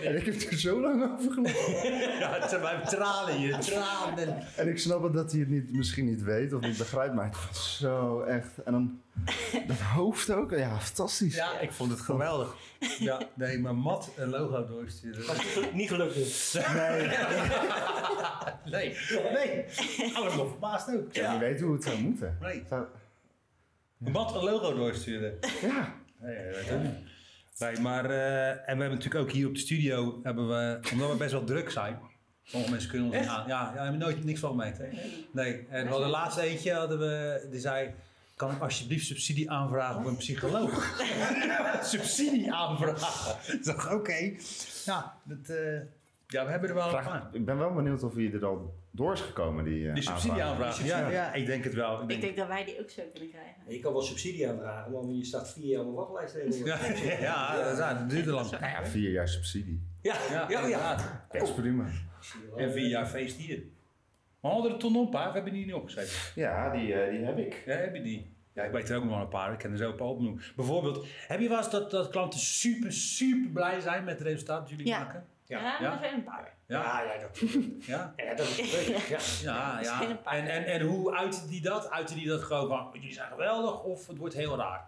En ik heb er zo lang over gelachen.
Ja, het zijn mijn tranen hier, tranen.
En ik snap het dat hij het niet, misschien niet weet of niet begrijpt. Maar het was zo echt. En dan dat hoofd ook. Ja, fantastisch.
Ja, ik vond het geweldig. Ja, nee, maar mat een logo doorsturen.
Niet gelukt dus.
Nee, nee. Allemaal verbaasd ook.
Ja. Je weet hoe het zou moeten.
Nee.
Zou-
Wat een logo doorsturen.
Ja.
Nee, dat doen we niet. Nee, maar eh, en we hebben natuurlijk ook hier op de studio, hebben we, omdat we best wel druk zijn. Sommige mensen kunnen ons niet aan. Ja, ja, daar hebben we nooit niks van gemerkt. Hè? Nee, en we hadden laatst eentje, hadden we, die zei, kan ik alsjeblieft subsidie aanvragen op een psycholoog? (laughs) subsidie aanvragen. Ik dacht, oké. Nou, dat, eh, ja, we hebben er wel een
Vraag,
paar.
ik ben wel benieuwd of je er al door is gekomen. Die, eh,
Die subsidie aanvragen. Ja, ja, ik denk het wel. Ik
Ik
denk, (laughs)
denk dat wij die ook zo kunnen krijgen.
Je kan wel subsidie aanvragen, maar je staat vier jaar op een wachtlijst.
ja, ja, dat is waar, dat duurde lang.
Nou ja, vier jaar subsidie.
ja, ja. ja.
inderdaad.
Best prima.
En vier jaar feest hier. Maar hadden er ton op, hè? We hebben die niet opgeschreven.
Ja, die, eh, die heb ik.
Ja, heb je die? Ja, ik weet er ook nog wel een paar. Ik ken er zo een paar opnoemen. Bijvoorbeeld, heb je wel eens dat, dat klanten super, super blij zijn met het resultaat dat jullie
Ja.
maken?
Ja.
Ja,
Ja.
er zijn een paar.
Ja,
Ja, ja, dat, ja,
ja.
dat is leuk. Ja.
Ja,
Er zijn een
ja.
paar.
En, en, en hoe uitte die dat? Uitte die dat gewoon van, jullie zijn geweldig of het wordt heel raar?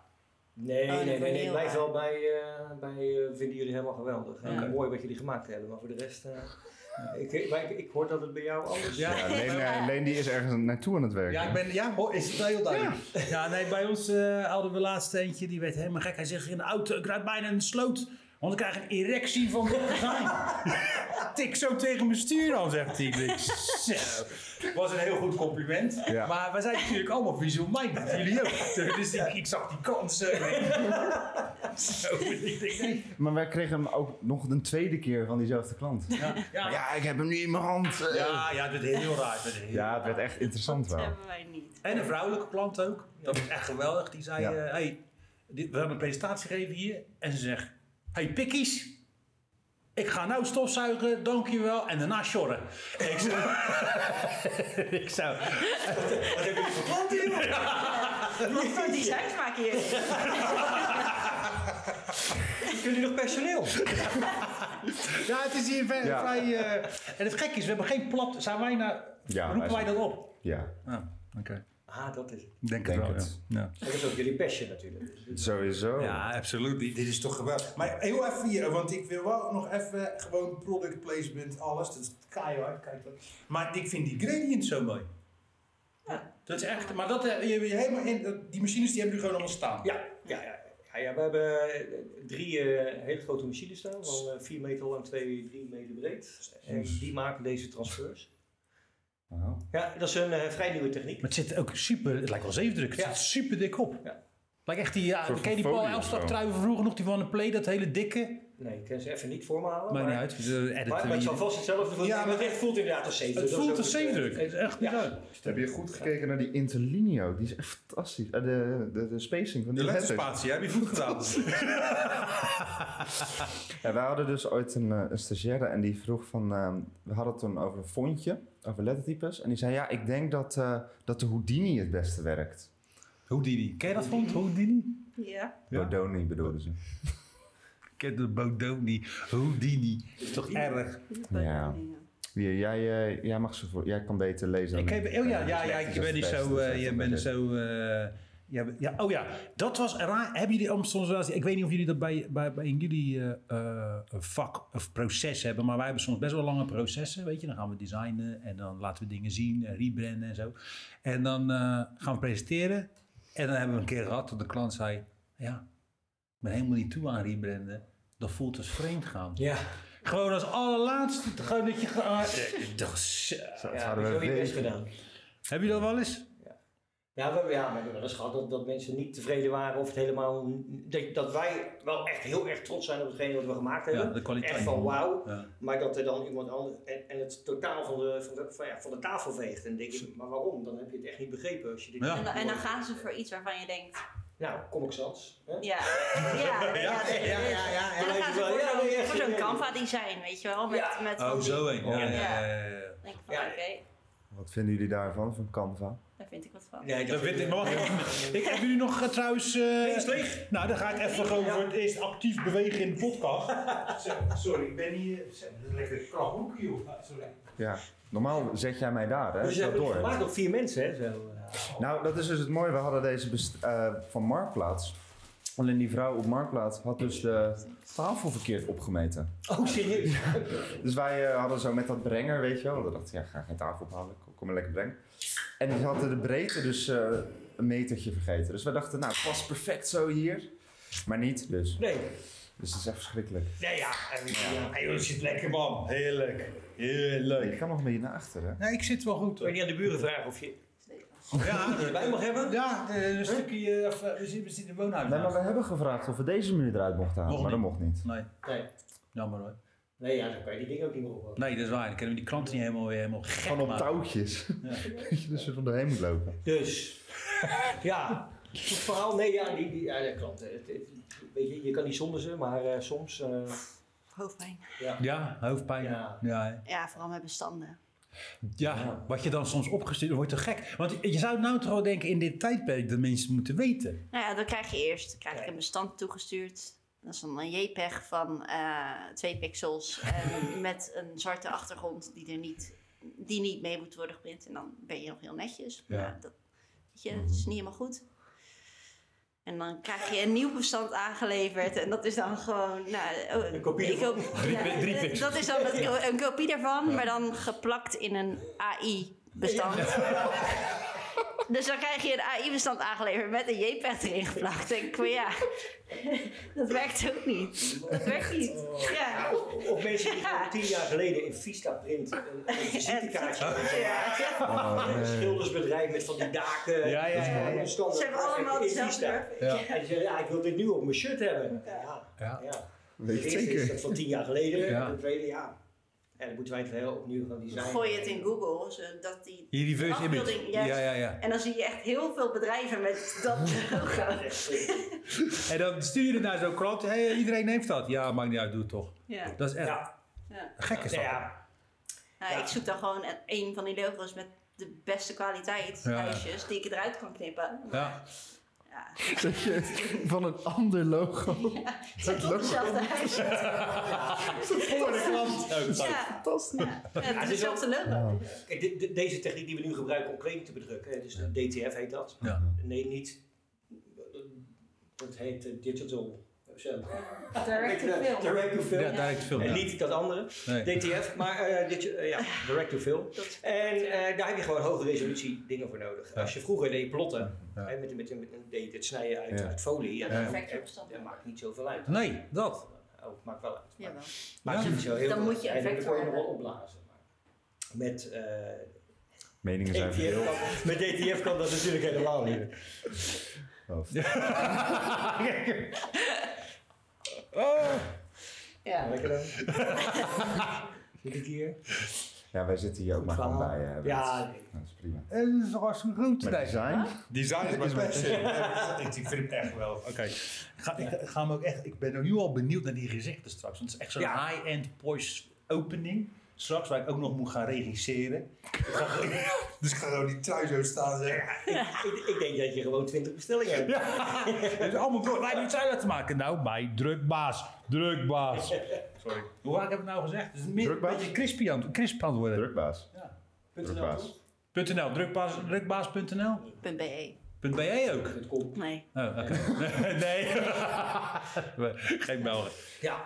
Nee,
Oh, dat
nee,
wordt
nee, nee.
heel
Ik blijf
raar.
wel bij, eh, bij eh, vinden jullie helemaal geweldig. En
Ja.
Mooi wat jullie gemaakt hebben, maar voor de rest... eh, ik, maar ik, ik hoor dat het bij jou anders is.
Ja.
Ja, Leen, eh, Leen die is ergens naartoe aan het werken.
Ja, ik ben, ja hoor, is het wel heel duidelijk. Ja, nee, bij ons eh, hadden we laatst eentje, die werd helemaal gek. Hij zegt in de auto, ik rijd bijna in de sloot. Want ik krijg een erectie van de gein. (laughs) Tik zo tegen mijn stuur aan, zegt hij. Ik denk, Zo. Was een heel goed compliment.
Ja.
Maar wij zijn natuurlijk allemaal visual minded, jullie ook. Dus ik, ik zag die kans. eh, (laughs) Zo, ik denk, nee.
Maar wij kregen hem ook nog een tweede keer van diezelfde klant.
Ja, ja, ja.
Ja, ik heb hem nu in mijn hand. eh.
ja, dat is heel raar. Dat is heel
Ja, het werd echt interessant
Dat
wel.
hebben wij niet.
En een vrouwelijke klant ook. Dat is echt geweldig. Die zei,
Ja.
eh, hey, dit, we hebben een presentatie gegeven hier. En ze zegt, hey pikkies. Ik ga nou stofzuigen, dankjewel. En daarna sjorren. Ik zou...
(laughs)
ik zou...
Wat hebben jullie voor klanten, joh?
Wat voor designs maak je hier?
Hebben jullie nog personeel?
Ja, het is hier vrij...
Ja.
vrij, eh, En het gekke is, we hebben geen plat... Zijn wij nou...
Ja,
roepen
wij
wij dat op?
Ja,
Ja, oké.
Ah, dat is het.
Denk,
Denk
het wel,
het.
ja.
Dat is ook jullie passion natuurlijk.
sowieso.
Ja. ja, absoluut.
Oh. Dit is toch geweldig. Maar heel even hier, want ik wil wel nog even gewoon product placement, alles. Dat is keihard, kijk dat. Maar ik vind die gradient zo mooi.
Ja.
Dat is echt...
Maar dat, eh, je, je helemaal in, dat- die machines die hebben nu gewoon allemaal staan.
Ja, ja, ja. ja, ja, we hebben eh, drie eh, hele grote machines staan, van eh, 4 meter lang, 2, 3 meter breed. En die maken deze transfers.
Wauw.
Ja, dat is een eh, vrij nieuwe techniek.
Maar het zit ook super, het lijkt wel zeefdruk. Het
Ja.
zit super dik op.
Ja.
Lijkt echt die, ja,
soort
ken je die
van
Paul
folie of
Elstak
zo.
trui van vroeger nog, die van een play, dat hele dikke.
Oh,
Nee, ik kan ze even niet voor me halen.
Maakt niet
maar-
uit, we
Maar,
editen
maar het
hier.
zal vast hetzelfde voelen.
Ja,
Ja, maar het voelt inderdaad als zeefdruk.
Het
Dat is
voelt
ook
als zeefdruk. Het
eh,
is echt
Ja.
bizar.
Heb je goed gekeken naar die interlineo? Die is echt fantastisch. Eh, de, de, de spacing van die letters.
heb je goed
(laughs)
gedaan.
(laughs) Ja, wij hadden dus ooit een, eh, een stagiaire en die vroeg van... eh, we hadden het toen over een fontje, over lettertypes. En die zei, ja, ik denk dat, eh, dat de Houdini het beste werkt.
Houdini. Ken je dat van Houdini?
Ja.
Ja.
Bodoni bedoelden ze.
Ik ken de Bodoni. Houdini. Dat is toch erg?
Ja. Hier, jij, eh, jij mag ze voor... Jij kan beter lezen.
Ik
dan
heb, oh ja,
Eh,
ja, ja,
dyslectisch
je bent niet
als het
zo...
beste.
eh,
Dus
je
dat is
bent
een
zo eh, ja, ja, oh ja, dat was raar. Hebben jullie Amsterdamse Ik weet niet of jullie dat bij, bij, bij in jullie eh, eh, vak of proces hebben, maar wij hebben soms best wel lange processen. Weet je, dan gaan we designen en dan laten we dingen zien en rebranden en zo. En dan eh, gaan we presenteren. En dan hebben we een keer gehad dat de klant zei: Ja, ik ben helemaal niet toe aan rebranden. Dat voelt als vreemd gaan.
Ja,
Gewoon als allerlaatste. Gewoon dat je. gaat- Eh, dat is-
beetje-
ja,
Dat
dat
hadden
hebben
we
je best
weten.
gedaan.
Heb je dat wel eens?
Ja, we, ja, maar we hebben wel eens gehad dat, dat mensen niet tevreden waren of het helemaal... Dat, dat wij wel echt heel erg trots zijn op hetgeen wat we gemaakt hebben.
de kwaliteit.
Echt van wauw.
Ja.
Maar dat er dan iemand anders en, en het totaal van de, van, de, van, ja, van de tafel veegt. En dan denk ik, maar waarom? Dan heb je het echt niet begrepen als je dit.
Ja.
niet
En, dan- en dan
hoort.
gaan ze voor iets waarvan je denkt,
Nou, kom ik zans. hè?
ja, ja, ja,
ja, ja, ja, ja.
En dan gaan ze
Ja,
voor
ja,
zo'n-
ja, ja,
voor zo'n
ja.
Canva design, weet je wel, met,
Ja.
met van
Oh,
die-
zo een. Ja,
Ja.
ja, ja, ja, ja.
denk ik van,
Ja.
oké,
Wat vinden jullie daarvan, van Canva?
daar vind ik wat van.
Nee,
Dat vind ik
wel.
nog. Ik heb jullie nog eh, trouwens. eh,
is leeg.
Nou, dan ga ik even gewoon voor het eerst actief bewegen in de podcast.
Sorry, ik ben hier. Dat is lekker krap hoekje, joh. Sorry.
Ja. Normaal zet jij mij daar, hè?
Dus
Ga
ze hebben het
door.
gemaakt op vier mensen, hè? Zo. eh,
Nou, dat is dus het mooie. We hadden deze best- eh, van Marktplaats. Alleen die vrouw op Marktplaats had dus de tafel verkeerd opgemeten.
Nou.
Oh, serieus?
Dus wij eh, hadden zo met dat brenger, weet je wel. We dachten, ja, ga geen tafel ophalen. Kom- Kom maar lekker brengen. En die hadden de breedte dus eh, een metertje vergeten. Dus wij dachten, nou, het past perfect zo hier. Maar niet dus.
Nee.
Dus dat is echt verschrikkelijk.
Nee, ja. En, ja.
Hey, dat zit lekker, man. Heerlijk.
Eh,
Heerlijk.
Ik ga nog een beetje naar achteren.
Nee, ik zit wel goed.
Ik wil niet aan de buren vragen of je
Ja,
het bij mag hebben.
ja een stukje. eh, we zitten we zitten in het woonhuis.
Nee, maar we hebben gevraagd of we deze muur eruit mochten halen,
Mocht
maar dat
niet.
nou. mocht niet.
Nee,
Nee.
jammer hoor.
Nee, ja, dan kan je die dingen ook niet meer ophouden.
Nee, dat is waar. Dan kunnen we die klanten niet helemaal weer helemaal gek
Gewoon op
maken.
touwtjes. (laughs) Dat je er zo van doorheen moet lopen.
(laughs)
Dus, ja. Het verhaal, nee, ja, die, die, ja dat klopt. Het, het- weet je, je kan niet zonder ze, maar eh, soms... eh,
Hoofdpijn.
ja.
Ja, hoofdpijn.
Ja.
ja hè.
Ja, vooral met bestanden.
Ja, wat je dan soms opgestuurd wordt te gek. Want je zou nou toch wel denken in dit tijdperk dat mensen moeten weten.
Nou ja, dan krijg je eerst, dan krijg ik
Ja.
een bestand toegestuurd. Dat is dan een JPEG van eh, twee pixels
(laughs)
en met een zwarte achtergrond die er niet, die niet mee moet worden geprint. En dan ben je nog heel netjes. Maar
Ja. Mhm.
dat, weet je, dat is niet helemaal goed. En dan krijg je een nieuw bestand aangeleverd. En dat is dan gewoon... Nou, oh,
Een kopie
ik
ervan.
hoop-
Drie
ja,
pi- drie
eh,
pixels.
Dat is dan het- een kopie daarvan, maar dan geplakt in een AI-bestand. (laughs) Dus dan krijg je een AI-bestand aangeleverd met een JPEG erin geplakt. Denk ik van ja, dat werkt ook niet. Dat werkt niet. Ja.
Of mensen die gewoon tien jaar geleden in Vista print een,
(laughs)
een visitekaartje hadden.
Ja.
Een schildersbedrijf met van die daken.
Oh, Ja, ja,
Dat is gewoon
ja, ja.
een standaard
Ze hebben allemaal
in
dezelfde
Vista.
werk.
Ja.
En die zeggen, ja, ik wil dit nu op mijn shirt hebben. Ja,
Ja.
ja.
Weet
De
je
eerste is
zeker?
dat van tien jaar geleden.
Ja.
En de tweede, ja. En dan moeten wij het heel opnieuw gaan designen.
Gooi het in Google, zodat die...
Hier reverse
Afbeelding,
image.
juist.
Ja, ja, ja.
En dan zie je echt heel veel bedrijven met dat logo.
En dan stuur je het naar zo'n krant. Hey, iedereen neemt dat. Ja, maakt niet uit, doe het toch.
Ja.
Dat is echt
Ja,
Ja.
gek is
nou
dat.
ja.
Nou,
Ja.
Ik zoek dan gewoon een- een van die logo's met de beste kwaliteit
Ja.
lijstjes die ik eruit kan knippen.
Ja.
Ja,
Dat je van een ander logo.
het ziet op
logo.
hetzelfde huis.
Voor de klant.
Ja,
Fantastisch.
ja. Ja, het is
is ook-
hetzelfde logo.
Kijk, de- de- deze techniek die we nu gebruiken om kleding te bedrukken, hè, dus de DTF heet dat.
Ja.
Nee, niet. Dat heet eh, digital. zo.
Direct to film.
Direct to film.
Ja, direct film.
En
Ja.
niet dat andere.
Nee.
DTF, maar eh, dit, eh, ja, direct to film.
Ah. Dat-
En eh, daar heb je gewoon hoge resolutie dingen voor nodig.
Ja.
Als je vroeger deed plotten,
Ja.
hè, met, met, met, deed je het snijden uit,
Ja.
uit folie, ja,
Ja.
dan-
Perfect
eh,
opstand.
dat maakt niet zoveel uit.
Nee, dat.
Oh, maakt wel uit. Maar,
Jawel.
maakt
Ja.
niet zo heel
Dan
veel
moet je
uit. En dan
effecten
kon je nog wel
hebben.
opblazen. Maar met, eh,
Meningen zijn
DTF
verdeeld.
kan- met DTF kan dat natuurlijk helemaal niet.
Of-
Ja.
Lekker
(laughs)
dan. Zit ik hier?
Ja, wij zitten hier ook maar gewoon
verhaal.
bij. eh,
Ja,
dat is- Dat is prima.
En dat is hartstikke goed.
Met design.
Design is mijn passion. ik vind het echt wel.
Oké. Ik, ga, ik, ga me ook echt, ik ben nu al benieuwd naar die gezichten straks. Want het is echt zo'n
Ja.
high-end poise opening. Straks waar ik ook nog moet gaan
(laughs)
regisseren.
Dus ik ga gewoon die trui zo staan en zeggen.
ik, ik denk dat je gewoon 20 bestellingen hebt.
Het is allemaal door mij niet uit te maken. Nou, mij, drukbaas. Drukbaas. Sorry. Hoe vaak heb ik het nou gezegd? Het is meer, een
Drukbaas?
beetje crispy aan, crisp aan het worden.
Drukbaas.
Punt NL,
Drukbaas.
toch?
.nl, drukbaas, drukbaas.nl.
Punt BE.
.be ook?
Het komt.
E. Nee,
Oh, oké.
(laughs)
(laughs) nee. (laughs) Geen Belgen.
Ja.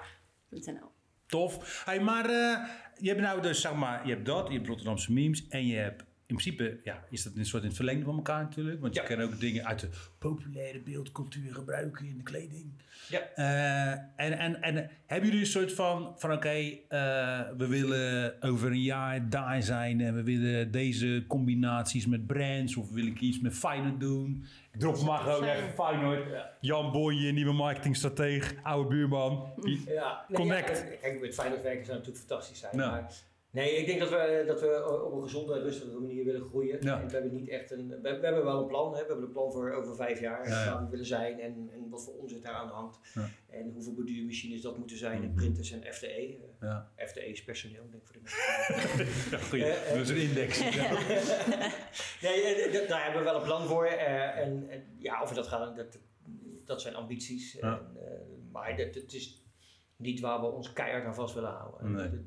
punt NL.
Tof. Hey, maar eh, je hebt nou dus, zeg maar, je hebt dat, je hebt Rotterdamse memes en je hebt in principe, ja, is dat een soort in het verlengde van elkaar natuurlijk. Want
Ja.
je kan ook dingen uit de populaire beeldcultuur gebruiken in de kleding.
Ja.
Eh, en, en, en hebben jullie een soort van, van oké, eh, we willen over een jaar daar zijn en we willen deze combinaties met brands of wil ik iets met Feyenoord doen. Ik drop maar gewoon
Feyenoord.
even Feyenoord. Jan Bonje, nieuwe marketingstratege, oude buurman. Die-
Ja,
Connect.
Ja, kijk, met Feyenoord werken zou natuurlijk fantastisch zijn.
Ja.
Maar nee, ik denk dat we, dat we op een gezonde, rustige manier willen groeien.
Ja.
En we hebben niet echt een. We, we hebben wel een plan. Hè. We hebben een plan voor over vijf jaar.
Ja, ja.
Waar we willen zijn en, en wat voor omzet daaraan hangt.
Ja.
En hoeveel beduurmachines dat moeten zijn. En printers en FTE. Eh,
Ja.
FTE is personeel, denk ik voor de mensen.
Ja, goeie.
Eh, eh.
dat is een index. (laughs)
nee, eh, dat- daar hebben we wel een plan voor. eh, en, en ja, of we dat gaan, dat, dat zijn ambities.
Ja.
En, eh, maar dat, het is niet waar we ons keihard aan vast willen houden.
Nee.
Dat-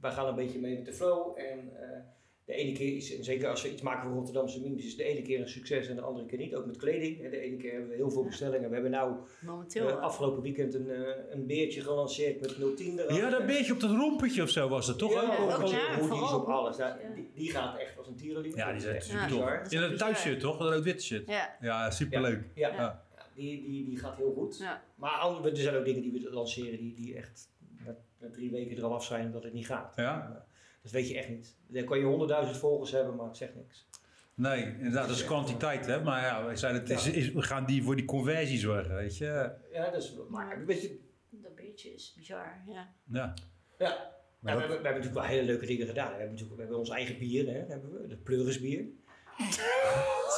Wij gaan een beetje mee met de flow. En eh, de ene keer is, en zeker als we iets maken voor Rotterdamse memes, is de ene keer een succes en de andere keer niet. Ook met kleding. En de ene keer hebben we heel veel bestellingen. We hebben nou eh,
Momenteel. eh,
afgelopen weekend een, eh, een beertje gelanceerd met 010 eraan.
Ja, dat beetje op dat rompetje of zo was dat toch?
Ja,
ook?
ook,
ook,
ja,
hoodies
vooral
op alles. Ja,
hoodies, ja.
die, die gaat echt als een tierenlier.
Ja, die zijn
echt
super
tof.
bizar.
In een thuisshirt toch? Een rood-wit shirt.
Ja.
Ja, superleuk.
Ja,
Ja.
Ja.
Ja, die, die, die gaat heel goed.
Ja.
Maar andere, er zijn ook dingen die we lanceren die, die echt na, na drie weken er al af zijn omdat het niet gaat. Eh,
Ja?
Dat weet je echt niet. Dan kan je honderdduizend volgers hebben, maar het zegt niks.
Nee, inderdaad, dat is kwantiteit hè. Maar ja, wij zeiden, het is, is- we gaan die voor die conversie zorgen, weet je.
Ja, dat is, maar weet je,
Dat beetje is bizar, ja.
ja.
Ja.
Maar
Ja, we, hebben, we hebben natuurlijk wel hele leuke dingen gedaan. We hebben natuurlijk we hebben ons eigen bier, hè, hebben we, de pleurisbier.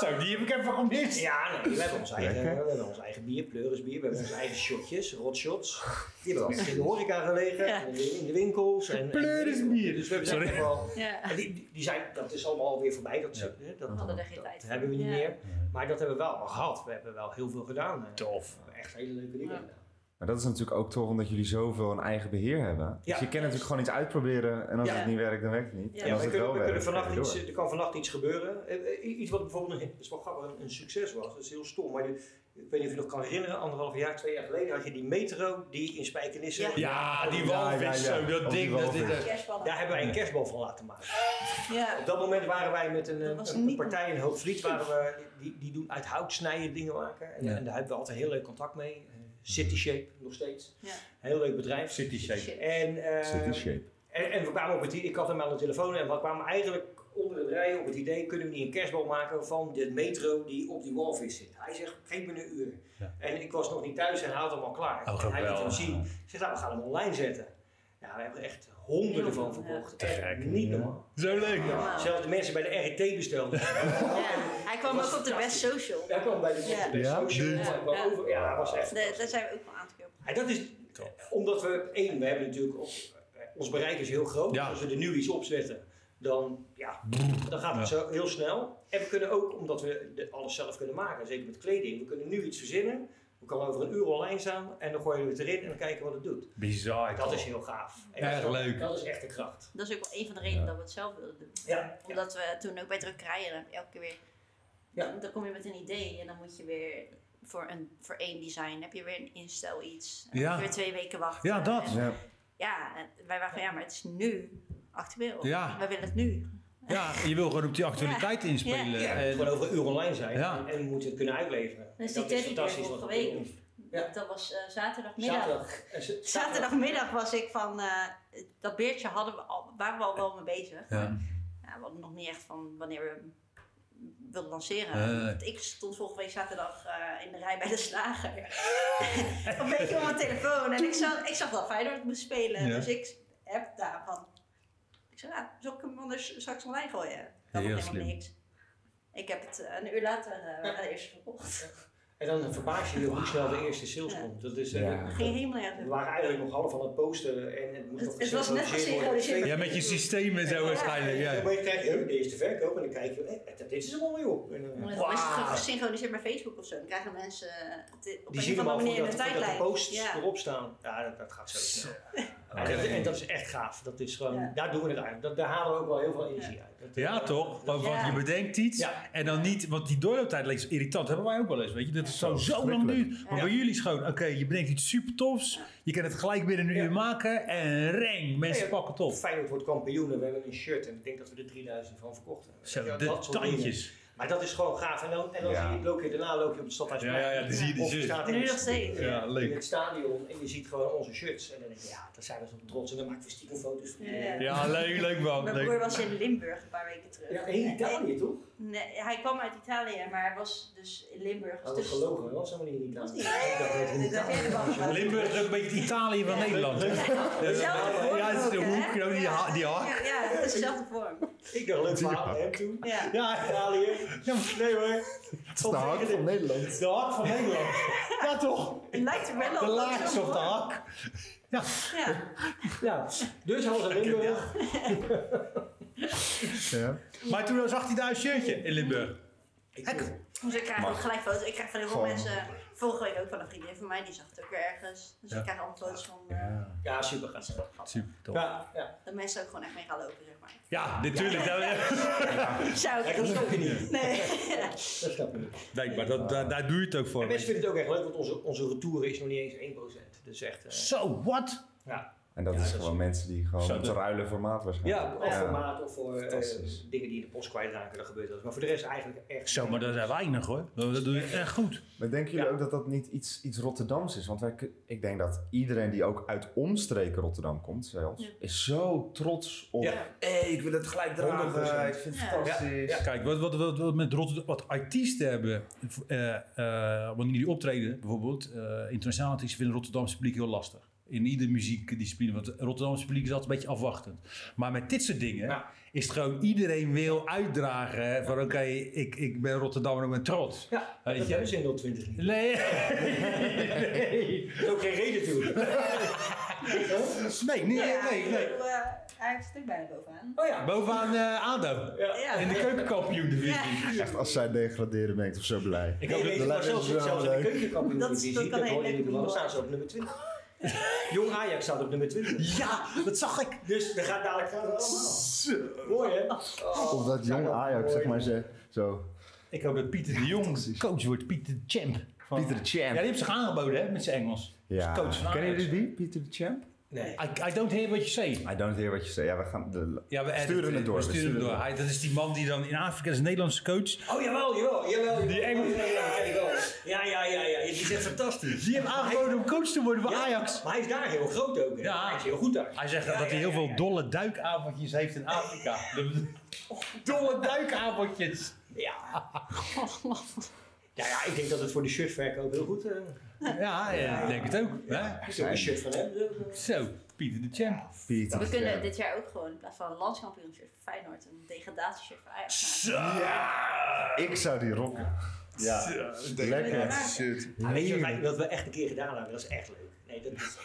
Zo, die heb ik even gemist.
Ja, nee, we hebben ons eigen,
Lekker.
we hebben ons eigen bier, pleurisbier, we hebben onze eigen shotjes, rotshots. Die hebben we ook in de horeca gelegen,
Ja.
in, de, in de winkels. En, en-
Pleurisbier.
Dus we hebben
Sorry.
echt wel...
Ja.
En die, die- die zijn, dat is allemaal alweer voorbij. Dat,
Ja.
hè, dat,
We hadden er
dat,
geen tijd voor.
hebben we niet
Oh, Ja.
meer. Maar dat hebben we wel allemaal gehad. We hebben wel heel veel gedaan. eh.
Tof.
We hebben echt hele leuke dingen
Ja.
gedaan.
Maar dat is natuurlijk ook tof omdat jullie zoveel een eigen beheer hebben.
Ja.
Dus je kan natuurlijk gewoon iets uitproberen en als
Ja.
het niet werkt, dan werkt het niet.
Ja.
En
Ja,
als
we
het
kunnen,
wel
we
werkt,
kunnen
ga
vannacht
je
iets,
door.
er kan vannacht iets gebeuren. Eh, eh, Iets wat bijvoorbeeld een, dat is wel grappig, een, een succes was. Dat is heel stom. Maar je- ik weet niet of je nog kan herinneren, anderhalf jaar, twee jaar geleden had je die metro die in Spijkenisse.
Ja.
Ja, die
Ja,
walvis,
ja, ja.
zo, dat
Ook die
ding. Dat
walvis.
dit, eh,
Daar hebben wij een kerstbal van laten maken.
Ja.
Op dat moment waren wij met een,
Dat
eh,
was
een
niet-
partij in Hoogvliet, waren we, die, die doen uit hout snijden dingen maken. En,
Ja.
en daar hebben we altijd heel leuk contact mee. Eh, City Shape nog steeds.
Ja.
Heel leuk bedrijf.
City shape.
En, eh,
Zit in shape.
en, en we kwamen op het idee, ik had hem aan de telefoon en we kwamen eigenlijk onder het rijden op het idee, kunnen we niet een kerstbal maken van de metro die op die walvis zit. Hij zegt, geef me een uur.
Ja.
En ik was nog niet thuis en hij had hem al klaar.
Oh,
en hij liet hem
geweldig.
zien. Ik zeg, nou, we gaan hem online zetten. Ja, we hebben er echt honderden
Heel
van
veel, ja.
verkocht.
Te
Echt
gek.
Niet
Ja.
normaal.
Zo leuk.
Wauw.
Zelfs de mensen bij de RET bestelden.
Hij kwam
Dat was
ook op de Best
fantastisch.
Social.
Hij kwam bij de
Ja.
bij de
Ja?
social.
dus-
Dit.
hij kwam
Ja.
over. Ja, hij was echt.
De- Daar zijn we ook wel een aantal keer op.
En dat is omdat we één, we hebben natuurlijk ook- eh, ons bereik is heel groot.
Ja.
Als we er nu iets opzetten, dan, ja, dan gaat het
Ja.
zo heel snel. En we kunnen ook, omdat we de- alles zelf kunnen maken, zeker met kleding, we kunnen nu iets verzinnen. We kan over een uur online staan en dan gooien we het erin en dan kijken wat het doet.
Bizar.
Dat is heel gaaf. En
Erg
dat,
leuk.
Dat is echt de kracht.
Dat is ook wel een van de redenen dat we het zelf wilden doen.
Ja.
Omdat we toen ook bij drukkerijen heb je elke keer weer...
Ja.
Dan, dan kom je met een idee en dan moet je weer voor, een, voor één design... heb je weer een instel iets. En dan
Ja.
moet je weer twee weken wachten.
Ja, dat.
En-
Ja.
ja, en wij waren van ja, maar het is nu actueel.
Ja.
Wij willen het nu.
Ja, je wil gewoon op die actualiteit
actualiteit
inspelen.
inspelen.
Ja,
En-
gewoon over een uur online zijn
Ja.
en, en we moeten het kunnen uitleveren.
Dus
dat
die
is
teddybeer
fantastisch wat
vorige
we
week.
doen. Ja.
Dat was eh, zaterdagmiddag.
Zaterdag. Eh, z-
Zaterdagmiddag was ik van eh, dat beertje hadden we al, waren we al wel mee bezig.
Ja.
Ja, we hadden nog niet echt van wanneer we hem wilden lanceren.
Eh.
Want ik stond vorige week zaterdag eh, in de rij bij de slager. (laughs) een beetje op mijn telefoon. En ik zag, ik zag dat Feyenoord moest spelen.
Ja.
Dus ik heb daarvan. Ik zei, ah, zal ik hem anders straks online gooien? Dat
Heel
was helemaal
slim.
niks. Ik heb het eh, een uur later eh aan de eerste verkocht.
En dan verbaas je je hoe snel de eerste sales
Ja.
komt. Dat is, eh,
Ja.
Geen helemaal nergens.
We waren eigenlijk nog half aan het posten en het moest
Het-
nog
het was net gesynchroniseerd.
ja, met je systeem en zo waarschijnlijk.
En
Ja.
dan krijg je eh, de eerste verkoop en dan kijk je, eh, dat dit is hem al joh. En, eh,
Maar
wauw.
Dan is het gesynchroniseerd bij Facebook of zo. Dan krijgen mensen eh, het op
Die
een of
zien hem
andere
al
manier in
voordat, voordat
de
de
tijdlijn.
posts
ja.
erop staan. Ja, dat, dat gaat zo snel.
Oké.
En, dat, en dat is echt gaaf. Dat is gewoon,
Ja.
Daar doen we het uit. Dat, daar halen we ook wel heel veel energie uit. Dat, eh,
Ja, toch? Want, want
Ja.
je bedenkt iets
Ja.
en dan niet, want die doorlooptijd leek irritant. Hebben wij ook wel eens, weet je? Dat is zo, zo lang duurt. Maar
Ja.
bij jullie is gewoon, oké, je bedenkt iets super tofs. Je kan het gelijk binnen een
Ja.
uur maken en reng, mensen
Ja, ja.
pakken het op.
Feyenoord wordt kampioen en we hebben een shirt en ik denk dat we er 3000 van verkocht hebben.
Zo,
Ja,
de
dat soort dingen.
tandjes.
Maar dat is gewoon gaaf. En dan, en dan
Ja.
zie je, loop je daarna loop je op het stadhuisplein.
Ja, ja, ja, dan zie je die
Of je
shirt.
staat in
Nu
het-
nog steeds.
Ja, leuk.
in het stadion en je ziet gewoon onze shirts. En dan denk je, ja, daar zijn we zo trots. En dan maken we stiekem foto's van.
Ja.
Ja, leuk, leuk man.
Mijn
Leuk.
broer was in Limburg een paar weken terug.
Ja, in Italië toch?
Nee, hij kwam uit Italië, maar hij was dus in Limburg.
Dat
dus
is Oh, gelogen, dat was helemaal niet in
Dat
Italië.
was niet- Dat heb jij er wel gedaan.
Limburg is ook een beetje het Italië van Nederland.
Dezelfde vorm
Ja, het is de
ook, hè?
hoek, gewoon die, ha- die hak.
Ja, ja, het is dezelfde vorm.
Ik dacht leuk verhaal aan hem toen.
Ja.
Ja, Italië. Nee hoor.
Het is de hak van Nederland.
De hak van Nederland. Ja, toch?
Het lijkt er wel op.
De
dat
laagjes
zo'n
op de
vorm.
hak. Ja.
Ja.
Ja, dus hij was in Limburg.
Ja.
Maar toen zag hij daar een shirtje in Limburg.
Dus ik krijg
Maar-
ook gelijk foto's. Ik krijg van heel veel
Gewoon.
mensen. Vorige week ook van een vriendin van mij, die zag het ook weer ergens. Dus
Ja.
ik krijg allemaal foto's van. eh,
Ja, super gaaf.
Super tof. Ja,
Ja, ja.
Dat mensen ook gewoon echt mee gaan lopen, zeg maar.
natuurlijk. dat-
Zou
Ja,
ik
dat snap je niet.
Nee.
Dat snap je niet.
Nee, maar dat, daar, daar doe je het ook voor.
En mensen vinden het ook echt leuk, want onze, onze retour is nog niet eens 1%. Dus echt, eh,
Zo, wat?
ja.
En dat is
dat is-
gewoon mensen die
Zo,
gewoon
dat-
te ruilen voor maat waarschijnlijk.
Ja, of voor maat of voor eh,
Fantastisch.
dingen die in de post kwijtraken, dat gebeurt wel eens. Maar voor de rest eigenlijk echt...
Zo, maar dat zijn weinig hoor. Dat dat doe je echt goed.
Maar denken jullie
Ja.
ook dat dat niet iets, iets Rotterdams is? Want wij, kun- ik denk dat iedereen die ook uit omstreken Rotterdam komt zelfs,
Ja.
is zo trots op...
Ja.
hey, ik wil het gelijk
100%.
vind
Ja.
fantastisch.
Ja.
Kijk, wat, wat, wat, wat met Rotterdam, wat artiesten hebben, eh, eh, wanneer die optreden bijvoorbeeld, eh, internationaal artiesten vinden het Rotterdamse publiek heel lastig. In ieder muziekdiscipline, want het Rotterdamse publiek is altijd een beetje afwachtend. Maar met dit soort dingen
Ja.
is het gewoon iedereen wil uitdragen hè, van oké, ik, ik ben Rotterdammer en ik ben trots.
Ja,
Weet
dat
je? (laughs)
hebben ze in 020 niet. (laughs)
Nee. nee.
Er is ook geen reden toe.
Nee, nee,
Ja,
nee,
ik
nee.
bedoel, eh, hij zit er bijna bovenaan.
Oh ja.
Bovenaan eh, ADO.
Ja.
Ja.
In de keukenkampioen divisie.
Ja.
Echt, als zij degraderen ben ik toch zo blij.
Ik
Nee,
hoop
weet je,
dat-
maar
dat
zelfs,
is wel
zelfs in de
leuk.
keukenkampioen
Dat-
divisie,
dat
dat,
kan heel
hoor je
lekker
natuurlijk wel, dan staan
worden.
ze op nummer 20. (laughs) Jong Ajax staat op nummer 20.
Ja, dat zag ik.
Dus er gaat dadelijk gaat het allemaal. Mooi hè? Oh.
Of dat jong Ajax, zeg maar, ze- zo.
Ik hoop dat Pieter de Jong coach wordt. Pieter de Champ. Van-
Pieter de Champ.
Ja, die heeft zich aangeboden hè, met zijn Engels.
Ja.
Coach van
Kennen
Ajax.
jullie die? Pieter de Champ?
Nee.
I, I don't hear what you say.
I don't hear what you say. Ja, we gaan... De,
Ja, we
sturen het door.
We sturen hem door. Hij, dat is die man die dan in Afrika is een Nederlandse coach.
Oh jawel, jawel, jawel.
Die Engels-
Ja, ja, jawel. ja, ja, ja, ja. Die zit fantastisch.
Die heeft aangeboden om coach te worden bij
Ja,
Ajax.
Maar hij is daar heel groot ook. hè.
Ja.
Hij is heel goed daar.
Hij zegt
Ja,
dat hij
ja,
heel
ja,
veel
ja.
dolle duikavondjes heeft in Afrika. De- (laughs) dolle duikavondjes.
Ja. Ja, ja, ik denk dat het voor de shirtverkoop heel goed eh,
Ja, ja, ik denk het ook.
er
Hè?
is. ook een shirt van hem.
Zo, Pieter de Champ.
Pieter
We
de
kunnen
Champ.
dit jaar ook gewoon in plaats van een landskampioenshirt voor Feyenoord een degradatieshirt voor Ajax maken.
Ik zou die rocken. Ja. Lekker.
Shit.
Ja, Ah, weet je wat wij- wat we echt een keer gedaan hebben? Dat is echt leuk. Nee, dat is...
(laughs)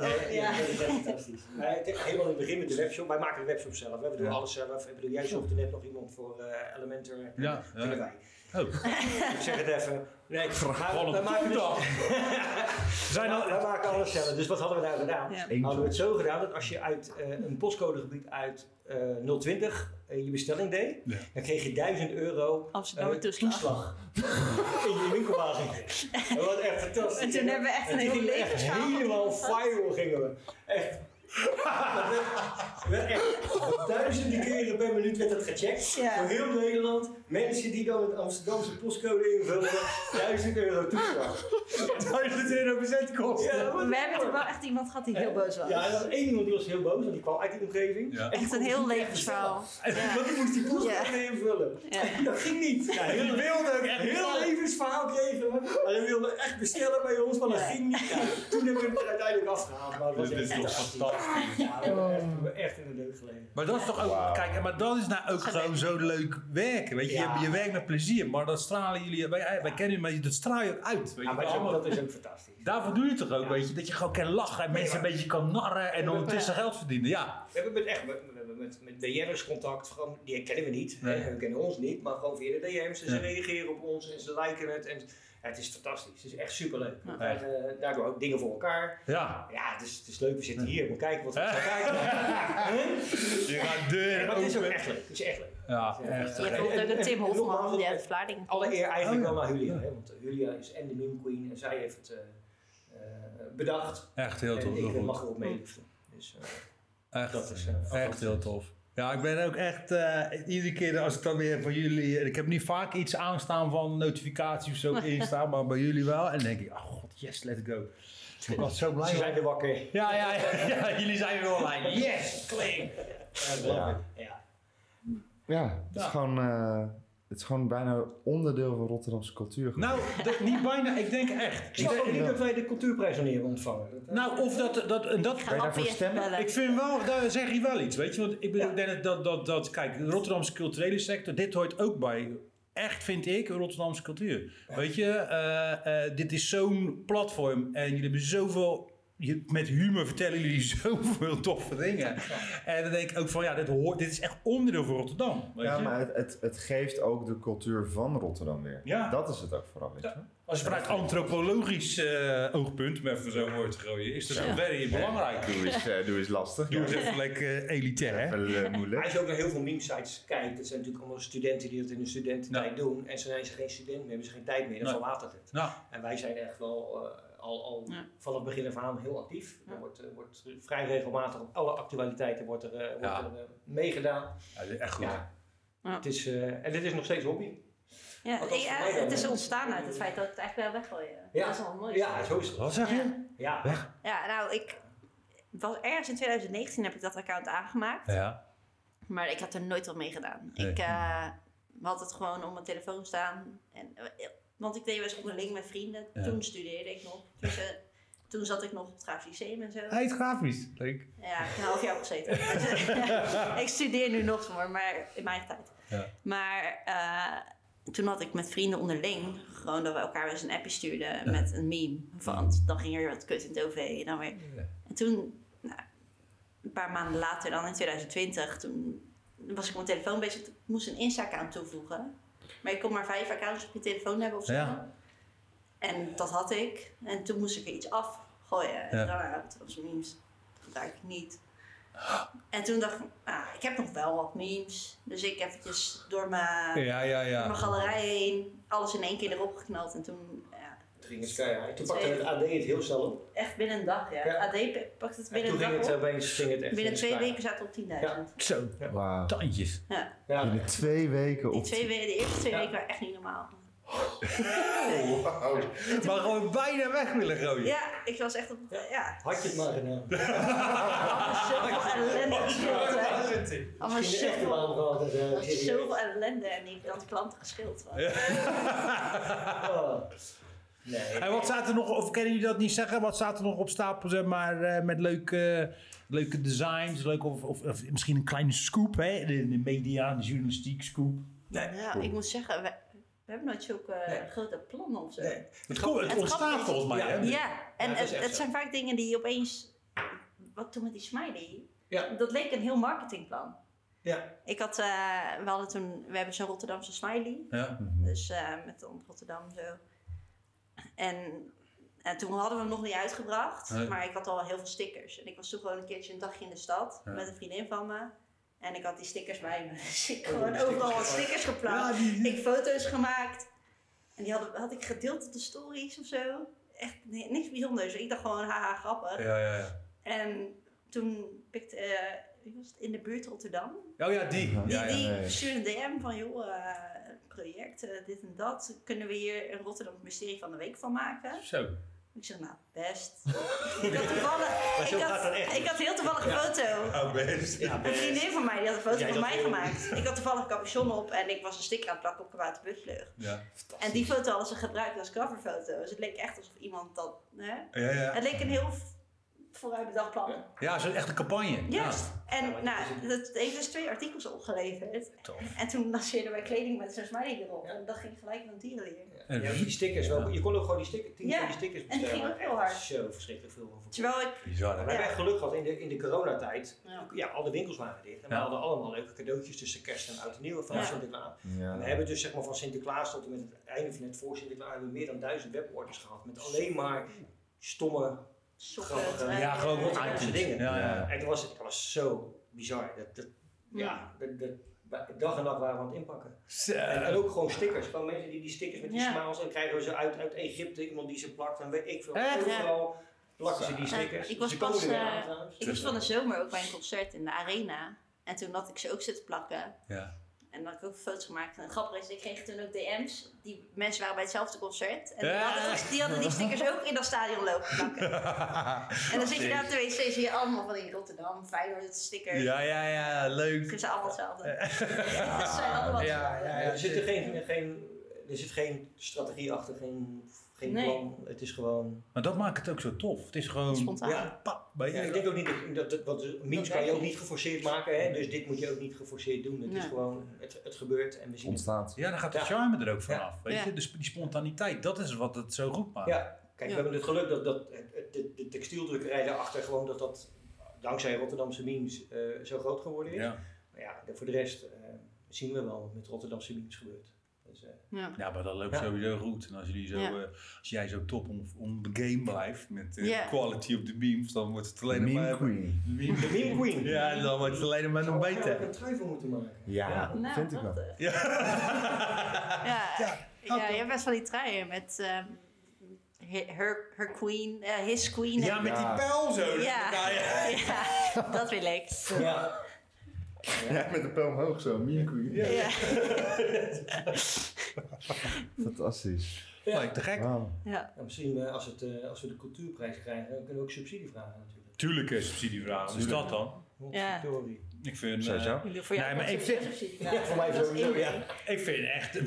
Nee,
Oh, ja.
dat is echt fantastisch. Wij- het- helemaal in het begin met de webshop. Wij maken de webshop zelf. Hè? We doen
Ja.
alles zelf. Ik bedoel, jij zocht er net nog iemand voor eh Elementor. Ja,
Ja,
Kunnen
ja.
wij.
Oh.
Ik zeg het even. Nee, maar,
Gewoon
wij
een
maken, dus, (laughs)
toedag. Zijn al- (laughs)
wij maken alles zelf. Dus wat hadden we daar gedaan?
Ja.
Hadden we het zo gedaan dat als je uit eh, een postcodegebied uit eh, 020 eh, je bestelling deed,
Ja.
dan kreeg je 1000 euro
Amsterdam
eh,
toeslag.
in je winkelwagen. Dat was echt fantastisch.
En toen hebben we echt
En
een
toen
heel
gingen we echt
levensverhaal
helemaal
gevonden.
viral gingen we. Echt. Dat werd- werd echt duizenden keren per minuut werd dat gecheckt.
Ja.
Door heel Nederland. Mensen die dan het Amsterdamse postcode invulden. 1000 euro toeslag.
1000 euro
Ja,
bezitkosten.
dat was
We hebben
mooi.
toch wel echt iemand gehad die heel boos was.
Eh, Ja, er was één iemand die was heel boos, want die kwam uit die omgeving.
Ja.
En die
Echt een
kon
heel
niet echt
levensverhaal.
bestellen. Want die moest die postcode invullen.
Ja.
Dat ging niet. Ja,
Die
heel
wilde ook echt
heel
bestellen.
levensverhaal kregen we. En we wilden echt bestellen bij ons, maar dat ging niet. Ja, toen hebben we het er uiteindelijk afgehaald. Maar het was
Dit is
echt
toch
fantastisch.
fantastisch.
Ja, we hebben echt- we hebben echt in de deuk gelegen.
Maar dat is toch ook,
Wauw.
kijk, maar dat is nou ook gewoon zo leuk werken. Weet je,
Ja.
je, je werkt met plezier, maar dat stralen jullie, wij, wij kennen jullie, maar dat straal je ook uit. Weet
Ja,
je,
maar dat is ook-
allemaal-
dat is ook fantastisch.
Daarvoor doe je het toch ook,
Ja.
weet je, dat je gewoon kan lachen en mensen een beetje kan narren en ondertussen geld verdienen. Ja,
We hebben met, echt, we, we hebben met, met DM'ers contact, gewoon, die kennen we niet,
Nee.
hè, we kennen ons niet, maar gewoon via de DM's en ze
Ja.
reageren op ons en ze liken het en ja, het is fantastisch, het is echt superleuk. We
Ja.
krijgen eh, daardoor ook dingen voor elkaar.
ja.
Ja, het is, het is leuk, we zitten hier, we kijken wat we
Ja.
gaan
(laughs)
kijken.
Je gaat
Ja,
deuren
maar het is ook
open.
echt leuk, het is echt leuk.
Ja,
Je
Ja.
echt.
hebt bijvoorbeeld ook een Tim
En- en- en nogmaals,
Hofman, die uit Vlaardingen.
Alle eer eigenlijk
Oh, ja.
wel naar Julia,
Ja.
hè, want eh, Julia is en de meme queen en zij heeft het eh, eh, bedacht
Echt heel
en
tof.
ik
heel
eh,
goed.
mag erop meeliften. Dus, eh, dat
Echt,
is, eh,
echt heel tof. Ja, ik ben ook echt, eh, iedere keer als ik dan weer van jullie, ik heb niet vaak iets aanstaan van notificaties
(laughs)
of zo instaan, maar bij jullie wel. En dan denk ik, oh god, yes, let's go. Ik was zo blij.
ze zijn weer wakker.
Ja, ja, ja, (laughs) ja, jullie zijn weer online. Yes, claim.
Ja. Ja.
Ja, het is
Ja.
gewoon... eh, Het is gewoon bijna onderdeel van Rotterdamse cultuur. geworden.
Nou, dat, niet bijna, ik denk echt.
Ik
Ik
zag
denk-
nog niet dat wij de cultuurprijs nog niet hebben ontvangen. Dat, eh,
nou, of dat, dat, en dat
Ik ga
Kan je daarvoor
Appie even
stemmen?
bellen.
Ik vind wel, daar zeg je wel iets, weet je. Want ik bedoel,
Ja.
ik denk dat, dat, dat, dat, kijk, de Rotterdamse culturele sector, dit hoort ook bij, echt vind ik, Rotterdamse cultuur. Weet je, eh, eh, dit is zo'n platform en jullie hebben zoveel, je, met humor vertellen jullie (laughs) zoveel toffe dingen. En dan denk ik ook van, ja, dit, hoort, dit is echt onderdeel van Rotterdam, weet
Ja,
je.
maar het, het, het geeft ook de cultuur van Rotterdam weer.
Ja.
Dat is het ook vooral, weet je. wel.
Als je vanuit antropologisch eh, oogpunt, om even zo'n woord te gooien, is dat very belangrijk.
Doe eens, eh, doe eens lastig.
Doe eens even lekker eh, elitair, hè.
Wel, eh, moeilijk.
als je ook naar heel veel meme sites kijkt, dat zijn natuurlijk allemaal studenten die dat in hun studententijd doen. En zo zijn ze geen student meer, hebben ze geen tijd meer, dan
Nee.
verwatert het.
Nou,
En wij zijn echt wel eh, al, al
Ja.
vanaf het begin af aan heel actief. Er wordt, eh, wordt vrij regelmatig op alle actualiteiten wordt er, eh, wordt
Ja.
er, eh, meegedaan.
ja, dit is echt goed.
Ja.
Ja.
Het is, eh, en dit is nog steeds hobby.
Ja,
Wat was
ik-
voor
eh,
mij dan,
het is
hè?
ontstaan uit het feit dat ik het eigenlijk wel weggooien.
Ja.
Dat is wel mooi.
Ja, zo is het.
Wat zeg je?
Ja.
Ja,
Ja, nou, ik was ergens in 2019 heb ik dat account aangemaakt.
Ja.
Maar ik had er nooit wat mee gedaan.
Nee.
Ik eh, had het gewoon op mijn telefoon staan. En, eh, want ik deed wel eens onderling met vrienden.
Ja.
Toen studeerde ik nog. Dus, eh, toen zat ik nog op het Graaf Lyceum en zo.
Hij is grafisch. Leuk.
Ja, ik heb een half jaar
(laughs)
opgezeten. ik studeer nu nog maar, maar in mijn tijd.
Ja.
Maar eh, toen had ik met vrienden onderling gewoon dat we elkaar eens een appje stuurden met een meme. Van, dan ging er wat kut in het OV en dan weer. En toen, nou, een paar maanden later, dan in 2020, toen was ik op mijn telefoon bezig. Ik moest een Insta-account toevoegen. Maar je kon maar vijf accounts op je telefoon hebben of zo.
Ja.
En dat had ik. En toen moest ik er iets afgooien. En
Ja.
daarna, dat was memes. Dat gebruik ik niet. En toen dacht ik, ah, ik heb nog wel wat memes. Dus ik eventjes door mijn
Ja, ja,
door
ja.
mijn galerij heen. Alles in één keer erop geknald. En toen, ja,
Het ging het keihard. Toen pakte het AD het heel snel op.
echt binnen een dag. Ja.
Ja.
AD pe- pakte het
En
binnen
toen
een
ging
dag
het
op.
opeens ging het echt
Binnen
in
twee
elkaar.
weken zaten we op 10.000.
Zo,
Wauw.
tandjes.
Ja.
Ja.
Binnen twee weken
Die
op.
twee weken, de eerste twee
Ja.
weken waren echt niet normaal.
Oh.
Maar gewoon bijna weg willen gooien.
Ja, ik was echt op... Ja,
Had je het maar gedaan. (laughs)
zoveel ellende. geschild, hè. Allemaal
Misschien de echte
zoveel
baan gehad. dat, eh,
Er was
serieus.
zoveel ellende en ik dat klanten geschild was.
Oh. Nee.
En wat staat er nog, of kunnen jullie dat niet zeggen, wat staat er nog op stapel, zeg maar, eh, met leuke, leuke designs, leuke, of, of, of misschien een kleine scoop, hè? De, de media, de journalistiek scoop.
Ja, ik moet zeggen, we, we hebben nooit zulke grote plannen of zo.
Nee.
Het, komt- het
Het
ontstaat
grappige is-
volgens mij,
ja.
hè?
Ja, en
dat is
het,
echt
het
zo.
zijn vaak dingen die opeens. Wat toen met die smiley?
Ja.
Dat leek een heel marketingplan.
Ja.
Ik had, eh, we hadden toen, we hebben zo'n Rotterdamse smiley.
Ja.
Dus eh, met dan Rotterdam zo. En, en toen hadden we hem nog niet uitgebracht.
Nee.
Maar ik had al heel veel stickers. En ik was toen gewoon een keertje een dagje in de stad.
Ja.
Met een vriendin van me. En ik had die stickers bij me. (laughs) Dus ik
Oh,
gewoon
die stickers
overal
geplakt.
wat stickers geplaatst. Ik foto's gemaakt. En die hadden, had ik gedeeld op de stories of zo. Echt ni- niks bijzonders. Ik dacht gewoon, haha, grappig.
Ja, ja, ja.
En toen pikte, eh, wie was het? in de buurt Rotterdam.
Oh ja, die. Ja,
Die,
ja.
die
ja, ja.
stuurde een DM van, joh, eh, project, eh, dit en dat. Kunnen we hier een Rotterdam mysterie van de week van maken?
Zo.
Ik zeg, nou, best.
(laughs)
ik had toevallig,
Maar zo
ik
gaat
had,
dat echt.
ik had een heel toevallige foto.
Oh,
Nou, best.
Ja,
Een
best.
vriendin van mij, die had een foto
Jij
van
dat
mij
wil.
gemaakt. Ik had toevallig een capuchon op en ik was een sticker aan het plakken op kabouter Butvleug.
Ja.
En die foto hadden ze gebruikt als coverfoto. Dus het leek echt alsof iemand dat... Hè?
Ja, ja.
Het leek een heel vooruitbedacht plan.
Ja, zo'n echte campagne.
Juist. En
Ja, maar
nou,
dat is
dat heeft dus twee artikels opgeleverd.
Tof.
En toen lanceerden wij kleding met zo'n smiley erop. En dat ging gelijk naar dierenleer.
Ja.
Ja, die stickers. wel. Je kon ook gewoon die stickers, tien
Ja,
van die stickers
en die
bestellen.
ging ook
maar
heel
echt
hard.
Zo verschrikkelijk veel van verkocht.
Terwijl ik...
Bizar,
Maar
hè?
we hebben echt geluk gehad in de, in de coronatijd.
Ja.
Ja, alle winkels waren dicht. En we
Ja.
hadden allemaal leuke cadeautjes tussen kerst en oud en nieuw van
Ja.
Sinterklaas. En we
Ja.
hebben dus zeg maar van Sinterklaas tot en met het einde van het voor Sinterklaas hebben we meer dan duizend weborders gehad. Met alleen maar stomme.
Sokken,
Grappig, hè?
truien.
Ja, gewoon
Ja,
wat
dat
items.
soort dingen.
Ja, ja.
En dat was, dat was zo bizar. Dat, dat, ja, dat, dat, wij dag en nacht waren we aan het inpakken. En, en
Zo.
ook gewoon stickers. Gewoon mensen die die stickers met die
Ja.
smiles. En krijgen we ze uit, uit Egypte. Iemand die ze plakt. En weet ik veel.
Echt?
Overal plakken ze die
Eh, Ja,
stickers.
ik was
Ze komen
pas,
er weer
eh,
aan trouwens.
Ik was van de zomer ook bij een concert in de arena. En toen had ik ze ook zitten plakken.
Ja.
En dan had ik ook foto's gemaakt. En grappig is, ik kreeg toen ook DM's. Die mensen waren bij hetzelfde concert. En die,
Ja.
hadden, die, die hadden die stickers ook in dat stadion lopen
(laughs)
plakken. en dan zit je daar op de wc, zie je allemaal van in Rotterdam, Feyenoord stickers.
Ja, ja, ja.
Ze
Leuk.
zijn allemaal hetzelfde. Ze zijn allemaal
Ja,
hetzelfde.
ja, ja.
Er zit er geen, geen, er zit geen strategie achter, geen, geen
Nee.
plan. Het is gewoon.
Maar dat maakt het ook zo tof. Het is gewoon...
Spontaan.
Ja.
Pap, bij
Ja, ik denk ook niet dat, dat, dat want memes kan je ook niet geforceerd maken, hè? dus dit moet je ook niet geforceerd doen. Het is
Nee.
gewoon, het, het gebeurt en we zien het.
Ontstaat.
Ja, dan gaat de
Ja.
charme er ook vanaf.
Ja.
Weet
Ja.
je, dus die spontaniteit, dat is wat het zo goed maakt.
Ja, kijk,
Ja.
we hebben het geluk dat, dat het- het- de, de textieldrukkerij daarachter gewoon dat dat dankzij Rotterdamse memes eh, zo groot geworden is.
Ja.
Maar ja, de- voor de rest eh, zien we wel wat met Rotterdamse memes gebeurt. Dus, eh,
Ja, maar dat loopt
Ja.
sowieso goed. En als, jullie zo,
Ja.
eh, als jij zo top om, om de game blijft met eh,
Ja.
quality op de beams, dan wordt het alleen
Meme
maar...
Queen.
Meme-
(laughs) De meme queen.
Ja, dan wordt het alleen maar nog
Zouden we eigenlijk
beter.
een trui voor moeten maken.
Ja,
Nou,
vind ik wel.
prachtig.
Ja.
Ja, ja, je hebt best van die truien met ehm, he- her, her queen, eh, his queen.
ja, met die
Ja.
pijl zo.
Ja.
Ja, ja.
Ja, (laughs) dat wil ik.
Ja.
Ja, met de pijl omhoog zo, Meme Queen.
Ja.
Fantastisch.
Lijkt te gek.
Wauw.
Ja.
Ja, misschien eh, als, het, eh, als we de cultuurprijs krijgen, dan kunnen we ook subsidie vragen natuurlijk.
Tuurlijk eh, een subsidievraag. Wat is Dus dat dan?
Ja.
Theorie.
Ik vind... eh,
Sowieso.
Voor jou
Nee, maar
komt
ik
sowieso
vind-
subsidie.
Ja, voor mij
dat is
sowieso,
één
ja.
ding.
(laughs) eh, Ik vind echt...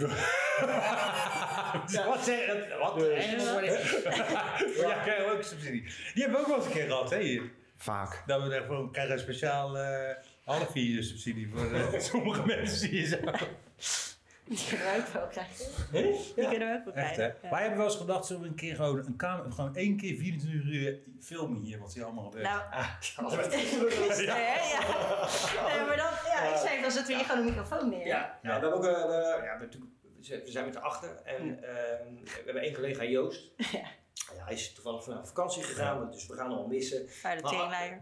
Wat zeg je? Wat?
Dus- (laughs)
Ja, krijg je ook subsidie. Die hebben we ook wel eens een keer gehad, hè? Hier.
Vaak.
Dat we daarvoor we krijgen een (laughs) speciaal eh half vier subsidie voor eh, sommige mensen. Die zo.
Die kunnen we ook wel krijgen. Die
Ja.
kunnen we ook wel
Echt, hè?
krijgen. Ja.
Wij hebben wel eens gedacht, zullen we een keer gewoon, een kamer, gewoon één keer 24 uur filmen hier, wat hier allemaal gebeurt.
Nou,
Ja.
ja.
(laughs)
ja. Nee, maar dan, ja, ik zei, dan zetten we hier gewoon een microfoon neer.
Ja, ja, we hebben ook, eh, we- ja, we, hebben natuurlijk- we zijn- we zijn met de achter en
Hm.
ehm, we hebben één collega Joost.
(laughs) Ja.
Ja, hij is toevallig vandaag op vakantie gegaan, dus we gaan hem al missen.
Vuile
Maar-
teenleier.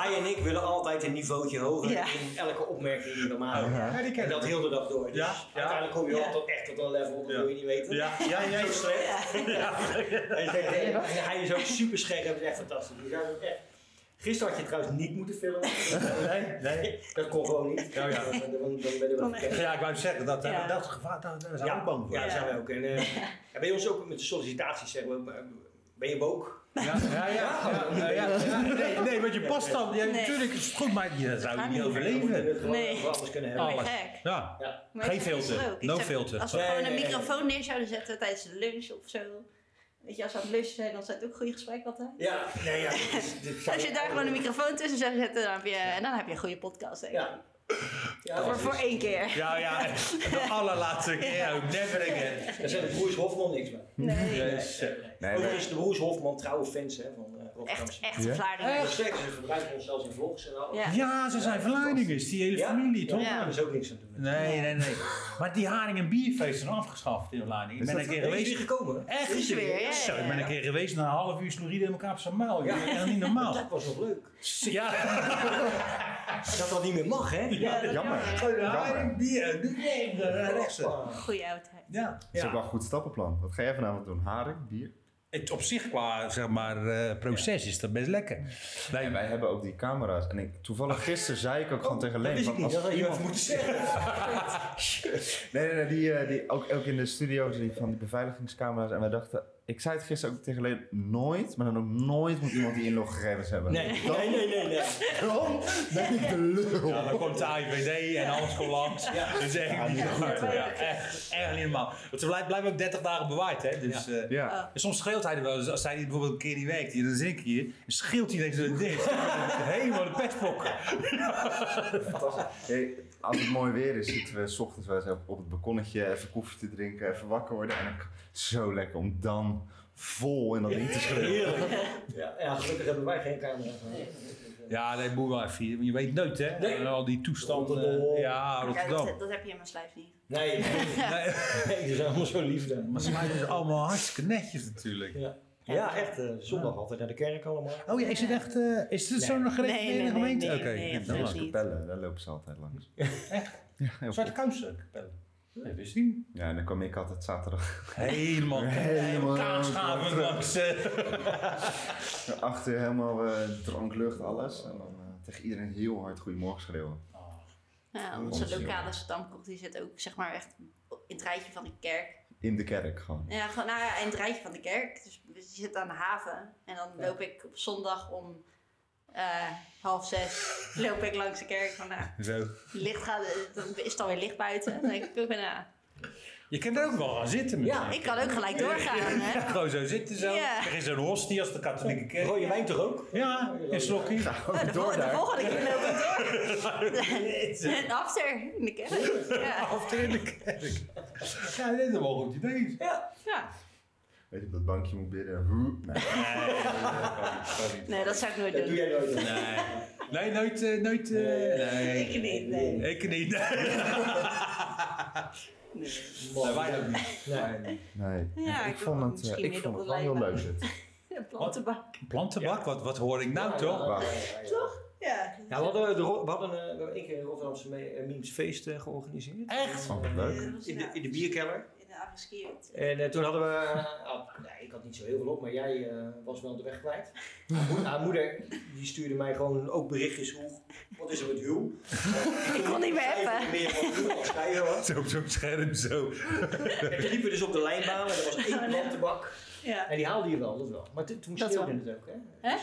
hij en ik willen altijd een niveautje hoger
Ja.
in elke opmerking die we maken.
Ja, die
En
kennen
dat heel de dag door. Dus
Ja, ja.
uiteindelijk kom je wel
Ja.
tot echt tot een level, dat
Ja.
wil je niet weten.
(laughs)
Ja, ja, ja.
Zo slecht.
ja. (laughs)
En ik denk, eh, en hij is ook super scherp, dat is echt fantastisch. Dus ja, echt. Gisteren had je trouwens niet moeten filmen.
Nee, nee.
Dat kon gewoon niet.
ja.
Dan, dan, dan ben je wel
Kon echt
verkeerd.
Ja, ik wou zeggen, dat, eh,
Ja.
dat gevaar, daar, daar zijn we
Ja.
ook bang voor.
Ja, dat
Ja.
zijn wij ook. En, eh, ja, bij ons ook met de sollicitaties zeggen we, eh, ben je woke?
Ja, ja, ja. ja, ja, ja. Nee, nee, want je past dan. Ja,
Nee.
Natuurlijk is het goed, maar je zou je niet
We moeten
overleven.
het gewoon
Nee.
over alles kunnen
Oh,
hebben.
Alles.
gek.
Ja,
Ja.
Maar
Geen
ik vind het
filter.
leuk. Ik
No
zeg,
filter.
Als we
Nee,
gewoon een
nee, nee.
microfoon neer zouden zetten tijdens de lunch of zo. Weet je, als we aan het lunchen zijn, dan zijn het ook goede gesprekken altijd.
Ja, nee, ja. dit is- dit zou-
Als je daar gewoon een microfoon tussen zou zetten, dan heb je, en dan heb je een goede podcast. Denk ik.
Ja. Ja,
voor,
dat
voor
is-
één keer.
ja, ja. (laughs) De allerlaatste keer. ook. Never again.
Daar zijn de broers Hofman niks mee.
Nee.
Jezus.
Nee, maar-
Overigens, de broers Hofman, trouwe fans hè, van eh
Echt,
Rotterdamse.
echt
Ja.
een Vlaardingen.
Nog steeds, ze gebruiken ons zelfs in vlogs en alles.
Ja.
Ja, ze zijn verleidingers, die hele
Ja?
familie, toch?
Ja,
Ja.
daar is ook niks aan doen.
Nee, nee, nee. Maar die haring- en bierfeesten zijn afgeschaft in Vlaanderen. Ik
Is
ben
dat
een keer
Is die
geweest.
gekomen?
Echt?
Is er weer, ja,
Zo,
ja,
ik ben
ja.
een keer geweest na een half uur snoeriden in elkaar op zijn muil. Ja, echt niet
(laughs)
normaal.
Oh. Dat was nog leuk.
Ja.
Dat dat niet meer mag, hè?
Ja, dat-
Jammer.
Gewoon haring, bier, nu nee, rechts.
Goeie oudheid.
Ja.
is ook wel
ja.
een goed stappenplan. Wat ga jij vanavond doen? Haring, bier?
Het op zich qua zeg maar, eh, proces is dat best lekker. Wij-
En wij hebben ook die camera's. En ik, toevallig gisteren zei Oh, ik ook gewoon tegen Leen...
Dat wist ik
van,
niet,
als
dat had je
iemand-
even moeten zeggen.
Nee, nee, nee, die, eh, die ook, ook in de studio's die van die beveiligingscamera's. En wij dachten, ik zei het gisteren ook tegen Leen, nooit, maar dan ook nooit moet iemand die inloggegevens hebben.
Nee, nee, nee, nee. nee.
Dan ben ik de lul.
Ja, dan komt de AIVD en alles komt langs. Dat is echt niet goed. Ja, echt, echt niet normaal. Want ze blijft, blijft ook 30 dagen bewaard, hè? Dus, eh,
Ja.
en soms scheelt hij er wel eens. Als hij bijvoorbeeld een keer niet werkt, dan zit ik hier. En scheelt hij ineens een ding. Helemaal de pestbok.
Hey, als het mooi weer is, zitten we 's ochtends wel eens even op het balkonnetje even koffie te drinken, even wakker worden. En ik, zo lekker om dan vol in dat ding te schreeuwen.
Heerlijk. Ja, ja, gelukkig hebben wij geen camera.
Ja, dat moet wel even. hier, want Je weet nooit, hè?
Nee.
En Al die toestanden.
Rotterdam.
Ja,
Ja,
Rotterdam.
dat, dat heb je in mijn slijf niet.
Nee,
Nee,
nee, die zijn allemaal zo lief. hè.
maar ze maken het dus allemaal hartstikke netjes natuurlijk.
Ja, ja echt. eh, zondag altijd naar de kerk allemaal.
Oh ja, is het echt... eh, is het
Nee.
zo'n gereformeerde
Nee, nee, nee,
gemeente?
nee,
Oké,
nee,
dan
Dan
absoluut
is
wel.
niet.
Capelle, daar lopen ze altijd langs.
Echt?
Ja, heel
Zwarte
goed.
Kousenkapelle. Nee, wist ik niet.
ja en dan kwam ik altijd zaterdag
Helemaal
Helemaal
kaasgavend
terug.
langs. eh.
achter, helemaal eh drank, lucht, alles. En dan eh, tegen iedereen heel hard goedemorgen schreeuwen.
Ja, onze lokale stamkort die zit ook zeg maar echt in het rijtje van de kerk.
In de kerk gewoon.
Ja, gewoon nou ja, in het rijtje van de kerk. Dus je zit aan de haven. En dan loop ik op zondag om eh, half zes (laughs) loop ik langs de kerk. Van, nou,
Zo.
licht gaat, dan is het alweer licht buiten. Dan denk ik, ik ben, nou,
Je kunt er ook wel gaan zitten. met
Ja,
z'n-
ik kan ook gelijk doorgaan. Hè?
Gewoon zo zitten zo.
Ja.
Er is een hostie als de katholieke kerk.
Rode wijn toch ook?
Ja, een slokje.
(laughs)
Nou, de, vol- de volgende keer loop ik door. En (laughs) after in de kerk. Ja.
Of in de kerk. Ja, dit is wel een goed idee.
Ja.
Ja.
Weet je, op dat bankje moet bidden. Hoe? (laughs) Nee.
Nee, dat zou ik nooit
Dat doe
doen.
jij nooit. hè?
Nee. Nee, nooit. eh, nooit eh, nee.
(laughs) Ik niet, nee.
Ik niet. Nee,
Man.
wij ook niet.
Nee.
Nee.
Ja,
ik
ik
vond
wil
het, eh,
misschien
ik
midden
vond
op
het
de
wel heel
lijn,
leuk zit.
Een plantenbak.
Plantenbak, wat, wat hoor ik nou toch?
Wacht.
Toch?
Ja.
Ja, we hadden, de, Ro- we hadden eh, we hebben één keer een Rotterdamse me- eh, memes feest eh, georganiseerd.
Echt?
Oh, wat leuk.
Eh, In de, in de bierkeller.
In de Aveskiert.
En eh, toen hadden we. ah, nee, ik had niet zo heel veel op, maar jij eh, was wel de weg kwijt. Haar moeder, haar moeder, die stuurde mij gewoon ook berichtjes hoe. Wat is er met Huw?
(laughs) Ik kon niet meer appen.
Even meer van Huw als jij hoor.
Zo op zo'n scherm zo.
En toen liepen we dus op de lijnbaan Oh, en er was één plantenbak.
Ja.
En die haalde je wel, dat wel. Maar t- toen
Dat
sneeuwde
wel.
het ook, hè?
Hè?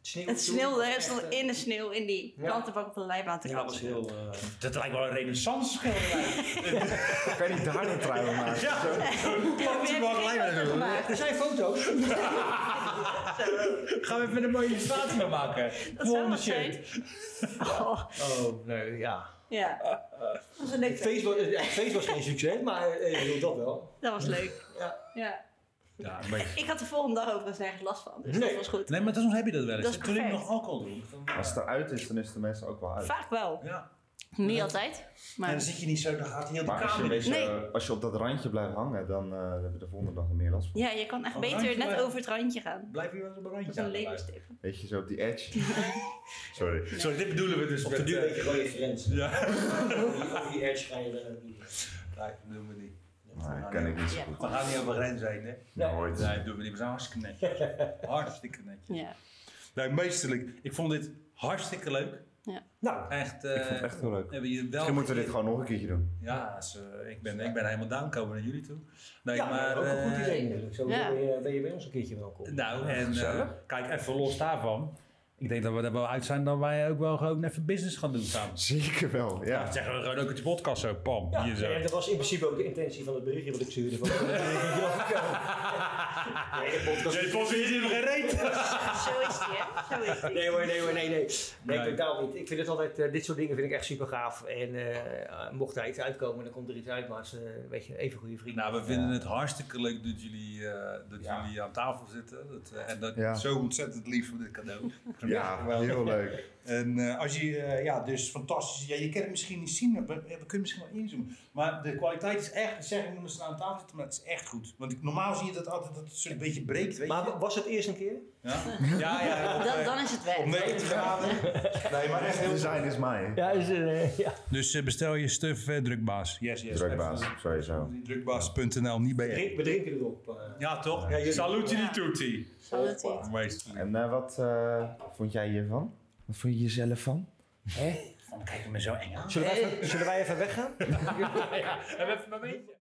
Dus het Sneeuw
Het
toen,
sneeuwde,
echt,
het stond
eh,
in de sneeuw in die
Ja.
plantenbak op de lijbaan te
Ja, dat was
kratsen.
heel... eh,
Dat lijkt wel een renaissance schilderij.
(laughs) Kan je niet daar een trui van maken?
Ja, we hebben geen foto gemaakt.
eh, Er zijn foto's.
(laughs)
Gaan we even een mooie illustratie van maken.
Dat zou
Volgende
wat
shirt.
zijn. Oh,
Oh, nee, ja.
ja,
Dat was een leuk
Het feest was, het feest was geen succes, maar eh, ik bedoel, dat wel.
dat was leuk.
Ja.
Ja.
Ja, een beetje.
Ik had de volgende dag overigens nergens last van, dus
Nee.
dat was goed.
Nee, maar soms heb je dat wel eens.
Dat is
Toen ik
perfect.
nog alcohol dronk. dan-
Als het eruit is, dan is het de mensen ook wel uit.
Vaak wel.
Ja.
Niet altijd,
En dan
maar
zit je niet zo, dan gaat heel de
Maar als je, een
kamer in.
beetje,
Nee.
als je op dat randje blijft hangen, dan eh heb je de volgende dag meer last van.
ja, je kan echt
Een
beter
randje
net
blijven.
over het randje gaan.
Blijf je wel eens op een
Dat is
randje
een
aan de lijn.
levenstip.
Weet je, zo op die
(laughs)
edge. Sorry.
Sorry, dit bedoelen we dus
Op de duur
eh,
weet je gewoon je grenzen.
Ja.
Over die edge ga je er niet.
Nee, dat doen we niet.
Nee, ken ik niet zo
Ja.
goed.
We gaan niet over grens heen, hè?
Nooit.
Nee, dat doen we niet. We zijn hartstikke
(laughs)
netjes. hartstikke netjes.
Ja.
Nee, meesterlijk. Ik vond dit hartstikke leuk.
Nou,
Echt, eh
Ik vond het echt heel leuk.
Hebben jullie wel
Misschien moeten we dit gewoon nog een keertje doen.
Ja, is, eh, ik, ben, ik ben helemaal down komen naar jullie toe. Nee,
ja,
maar,
ook een
eh,
goed idee natuurlijk. Zo
ja.
ben, je, ben je bij ons een keertje welkom.
Nou, en
Gezellig.
eh, kijk, even los daarvan. Ik denk dat we er wel uit zijn dat wij ook wel gewoon even business gaan doen samen.
Zeker wel,
Ja,
ja.
dat zeggen we gewoon ook in de podcast zo, pam,
Ja,
hier zo.
nee, dat was in principe ook de intentie van het berichtje wat ik stuurde. (laughs) Van, nee, de podcast-
Jij pas hier in gereed.
Zo is die, hè? Zo is die.
Nee hoor, nee hoor, nee, nee. Nee,
Nee.
totaal niet. Ik vind het altijd, eh, dit soort dingen vind ik echt super gaaf. En eh, mocht daar iets uitkomen, dan komt er iets uit. Maar ze, weet je, even goede vrienden.
Nou, we vinden het hartstikke leuk dat jullie, eh, dat
Ja.
jullie aan tafel zitten. Dat, eh, en dat
Ja.
zo ontzettend lief voor dit cadeau.
Ja, heel leuk.
En eh, als je, eh, ja, dus fantastisch. Ja, je kan het misschien niet zien, maar we, we kunnen misschien wel inzoomen. Maar de kwaliteit is echt, zeg ik, omdat ze aan tafel zitten, maar het is echt goed. Want ik, normaal zie je dat altijd, dat het zo een beetje breekt, weet
Maar
je.
wa- was het eerst een keer?
Ja, ja, ja.
Dan, dan is het weg.
Op 90 graden. Nee, maar echt heel
Design is mij.
Ja, is, ja.
Dus eh, bestel je stuf eh, drukbaas. Yes, yes.
Drukbaas, sowieso.
Even-
Drukbaas.nl, niet bij
Drink, we drinken erop. eh.
Ja, toch?
Ja,
Ja,
jullie-
Saluti
Ja.
tutti.
Zal het niet.
Meesterlijk.
En eh, wat eh, vond jij hiervan? Wat vond je jezelf van?
Dan kijk je me zo eng aan.
Zullen, wij even, zullen wij even weggaan?
En even een beetje.